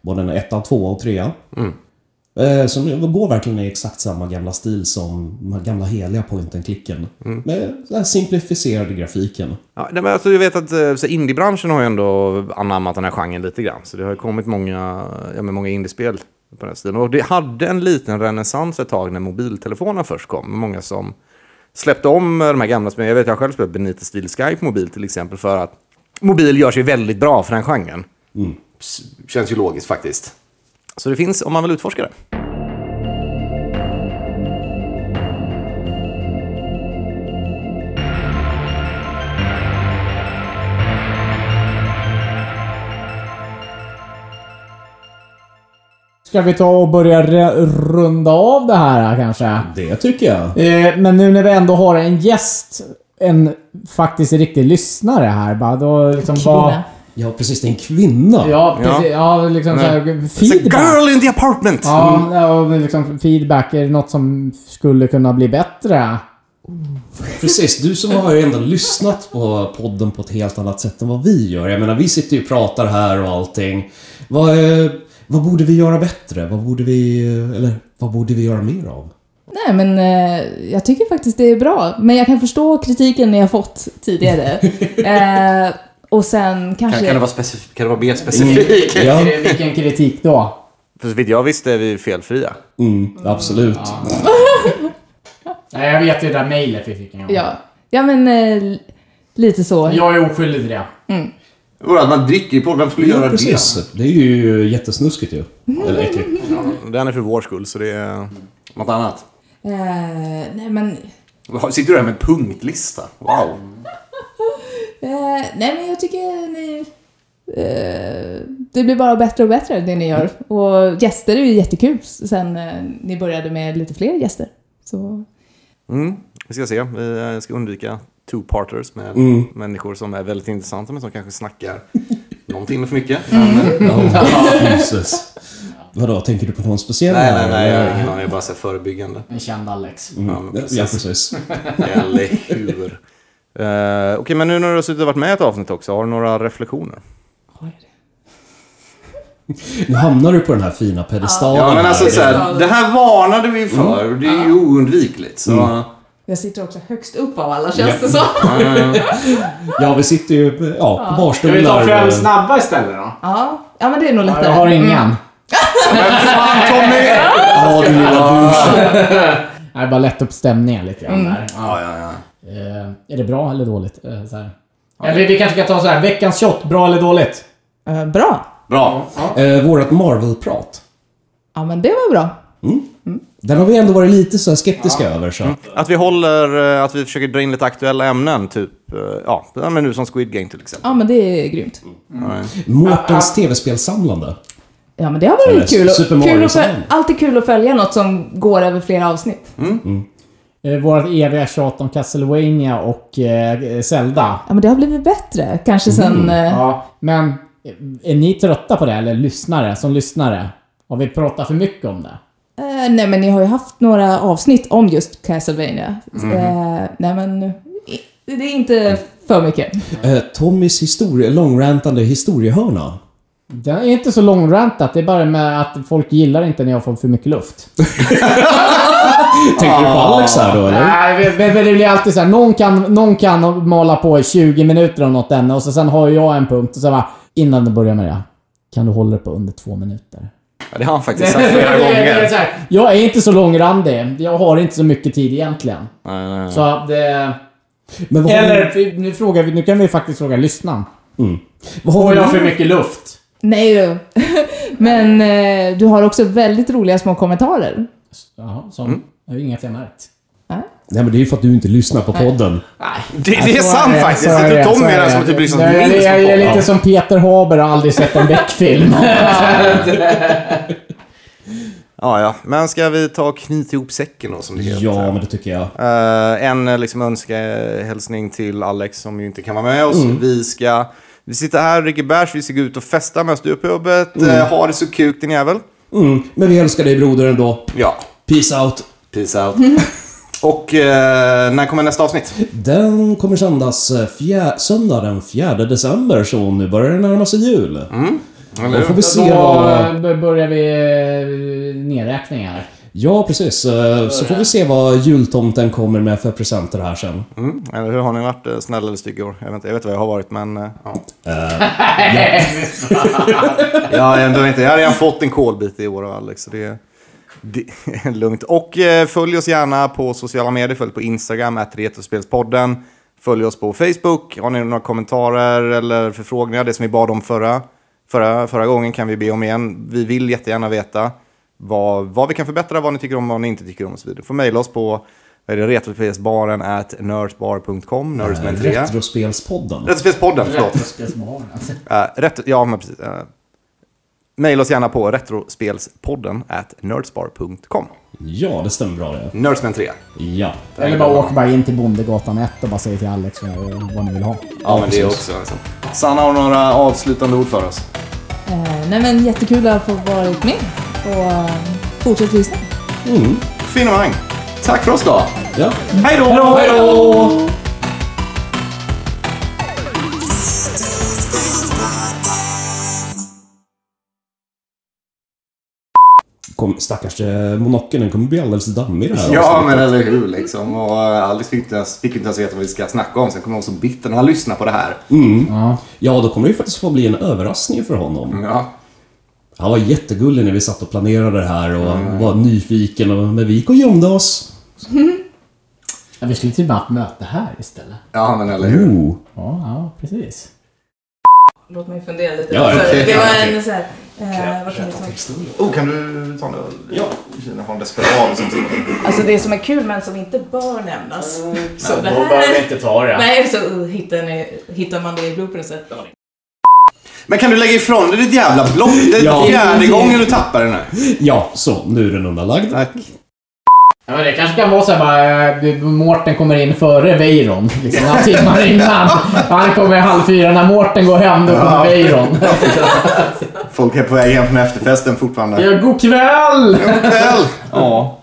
både en etta, tvåa och trea. Eh, så det går verkligen i exakt samma gamla stil som de här gamla heliga point and clicken. Med den här simplifierade grafiken. Ja, nej, men alltså, jag vet att eh, så indiebranschen har ju ändå anammat den här genren lite grann. Så det har ju kommit många, ja, men många indiespel på den här stilen. Och det hade en liten renässans ett tag när mobiltelefonerna först kom. Många som släppte om eh, de här gamla spelen. Jag vet att jag själv spelade Benito Steel Sky på mobil till exempel. För att mobil gör sig väldigt bra för den genren. Mm. S- Känns ju logiskt faktiskt. Så det finns om man vill utforska det. Ska vi ta och börja re- runda av det här eh, kanske? Det tycker jag. Eh, Men nu när vi ändå har en gäst, en faktiskt riktig lyssnare här bara, då liksom bara... Kvinna. Ja, precis. Det är en kvinna. Ja, precis. Ja, liksom så här, It's a feedback. girl in the apartment! Ja, ja, och liksom feedback. Är det något som skulle kunna bli bättre? Precis, du som har ju ändå lyssnat på podden på ett helt annat sätt än vad vi gör. Jag menar, vi sitter ju och pratar här och allting. Vad, eh, vad borde vi göra bättre? Vad borde vi... eh, Eller, vad borde vi göra mer av? Nej, men eh, jag tycker faktiskt det är bra. Men jag kan förstå kritiken ni har fått tidigare. eh, och sen kanske... Kan, kan, det vara specif- kan det vara mer specifik? Ja, Vilken kritik då? För så vitt jag visste är vi felfria. mm, absolut. Nej, jag vet ju det där mejlet vi fick en gång. Ja, ja men eh, lite så. Jag är oskyldig till det. Vadå, att man dricker i podden? Vem skulle Ja, göra det? precis. Det är ju jättesnuskigt ju. Eller äckligt. Den är för vår skull, så det är något annat. Eh, nej, men, Sitter du där med en punktlista? Wow. eh, nej, men jag tycker ni... Eh, det blir bara bättre och bättre det ni gör. Mm. Och gäster är ju jättekul sen eh, ni började med lite fler gäster. Så, Vi ska se. Vi eh, ska undvika two-parters med människor som är väldigt intressanta men som kanske snackar någon timme för mycket. Ja, Jesus. Vadå, tänker du på någon speciell? Nej, här, nej, nej. Jag eller? har ingen aning. Jag bara säger förebyggande. En känd Alex. Ja, men Ja, precis. precis. Eller hur? Eh, Okej, men nu när du har suttit och varit med i ett avsnitt också, har du några reflektioner? Nu hamnar du på den här fina pedestalen Ja, men här. alltså så här, det här varnade vi för. Det är ju oundvikligt. Så... jag sitter också högst upp av alla känns det som. Ja, vi sitter ju ja, på Ska vi ta barstolar. fem snabba istället då? Ja. ja, men det är nog lättare. Jag har ingen. Mm. Tommy! Ja, du lilla douche. Nej, bara lätt upp stämningen lite grann där. Ja. ja, ja. Eh, är det bra eller dåligt? Eh, så här. Eh, vi, vi kanske ska ta så här. Veckans shot, bra eller dåligt? Eh, bra. Bra. Eh, vårat Marvel-prat. Ja, men det var bra. Den har vi ändå varit lite så här skeptiska över. Så. Att vi håller, eh, att vi försöker dra in lite aktuella ämnen, typ typ, eh, ja, ja, men nu som Squid Game till exempel. Ja, men det är grymt. Mårtens tv-spelsamlande. Ja, men det har varit Eller kul. Super Och, Mario kul att som föl- vann. alltid kul att följa något som går över flera avsnitt. Eh, Vårt eviga tjat om Castlevania och eh, Zelda. Ja, men det har blivit bättre. Kanske sen... eh, Ja, men eh, är ni trötta på det? Eller lyssnare, som lyssnare? Har vi pratat för mycket om det? Eh, nej, men ni har ju haft några avsnitt om just Castlevania. Eh, nej, men i- det är inte för mycket. Eh, Tommys historie, långrantande historiehörna. Det är inte så långrantat, det är bara med att folk gillar inte när jag får för mycket luft. Tänker du på Alex här då eller? Nej, men men det blir alltid så här. Någon kan, någon kan mala på i 20 minuter om något ämne och så sen har jag en punkt och så bara, innan du börjar med det. Kan du hålla det på under två minuter? Ja, det har han faktiskt sagt flera gånger. Så här, jag är inte så långrandig. Jag har inte så mycket tid egentligen. Nej, nej, nej. Så att det... Men vad har, Eller, vi- nu, frågar vi, nu kan vi faktiskt fråga lyssnaren. vad har Får jag vi för mycket luft? Nej du. men eh, du har också väldigt roliga små kommentarer. Jaha, som... Mm. Det är ju inget jag märkt. Nej men det är ju för att du inte lyssnar på podden. Det, Alltså, det är sant faktiskt. Det är Tommy är den som typ liksom jag, jag, minst jag, jag är på. lite som Peter Haber och har aldrig sett en Beck-film. Ja, ja. Men ska vi ta och knyta ihop säcken då som det heter? Ja, men det tycker jag. Eh, en eh, liksom, önskehälsning till Alex som ju inte kan vara med oss. Vi ska... Vi sitter här och dricker bärs, vi ska gå ut och festa med ståuppjobbet. Eh, ha det så kuk din jävel. Mm. Men vi älskar dig broder ändå. Ja. Peace out. Peace out. och eh, när kommer nästa avsnitt? Den kommer sändas eh, fjär- söndag den 4 december, så nu börjar det närma sig jul. Mm, Då får vi se vad... Mm, Då eh, börjar vi eh, nedräkningar. Ja, precis. eh, Så får vi se vad jultomten kommer med för presenter här sen. Mm. Eller hur har ni varit eh, snälla eller stygga i år? Jag vet, inte, jag vet vad jag har varit, men... eh, ja. ja, jag, behöver inte, jag har redan fått en kolbit i år av Alex. Så det, det är lugnt. Och eh, följ oss gärna på sociala medier. Följ på Instagram, retrospelspodden. Följ oss på Facebook. Har ni några kommentarer eller förfrågningar? Det som vi bad om förra, förra, förra gången kan vi be om igen. Vi vill jättegärna veta vad, vad vi kan förbättra, vad ni tycker om, vad ni inte tycker om och så vidare. Får mejla oss på vad är det, retrospelsbaren at nerdbar.com. Nerds med en trea. Eh, Retrospelspodden. Retrospelspodden, förlåt. Retrospelsmorgon. Eh, retro, ja, men precis. Uh, Maila oss gärna på retrospelspodden at nerdspar.com. Ja, det stämmer bra det. Nerdsman 3. Ja. Eller bara åk bara in till Bondegatan 1 och bara säg till Alex vad, vad ni vill ha. Ja, men det är också. Liksom. Sanna har några avslutande ord för oss. Eh, nej, men jättekul att få vara med. Och eh, fortsätt lyssna. Finemang! Tack för oss då! Ja. Hej då! Hej då! Kom, stackars eh, monokeln, den kommer bli alldeles dammig det här Ja, avsnittet. men eller hur liksom. Och eh, Alice fick inte ens, fick inte ens veta vad vi ska snacka om. Sen kommer hon så bitter när han lyssnar på det här. Ja, då kommer det ju faktiskt få bli en överraskning för honom. Ja. Han var jättegullig när vi satt och planerade det här och Mm. var nyfiken, och, men vi gick och gömde oss. Ja, vi skulle till och med haft möte här istället. ja, men eller hur. Oh. Ja, ja precis. Låt mig fundera lite. Ja, Så okej. det var Ja, okej. en så här... Eh, vad kan jag ta? Oh, kan du ta en öl? Ja. Jag har en desperat som Alltså det som är kul men som inte bör nämnas. så det här... inte ta det. Nej, så uh, hittar, ni, hittar man det i bloopersen. Men kan du lägga ifrån dig ditt jävla block? Det är Ja. fjärde gången du tappar det nu. Ja, så. Nu är den undanlagd. Tack. Ja, men det kanske kan vara så här bara, eh, Mårten kommer in före Weiron. Liksom, några timmar innan. Han kommer halv fyra. När Mårten går hem, då kommer Weiron. Folk är på väg hem från efterfesten fortfarande. Ja, god kväll! Kväll! Ja.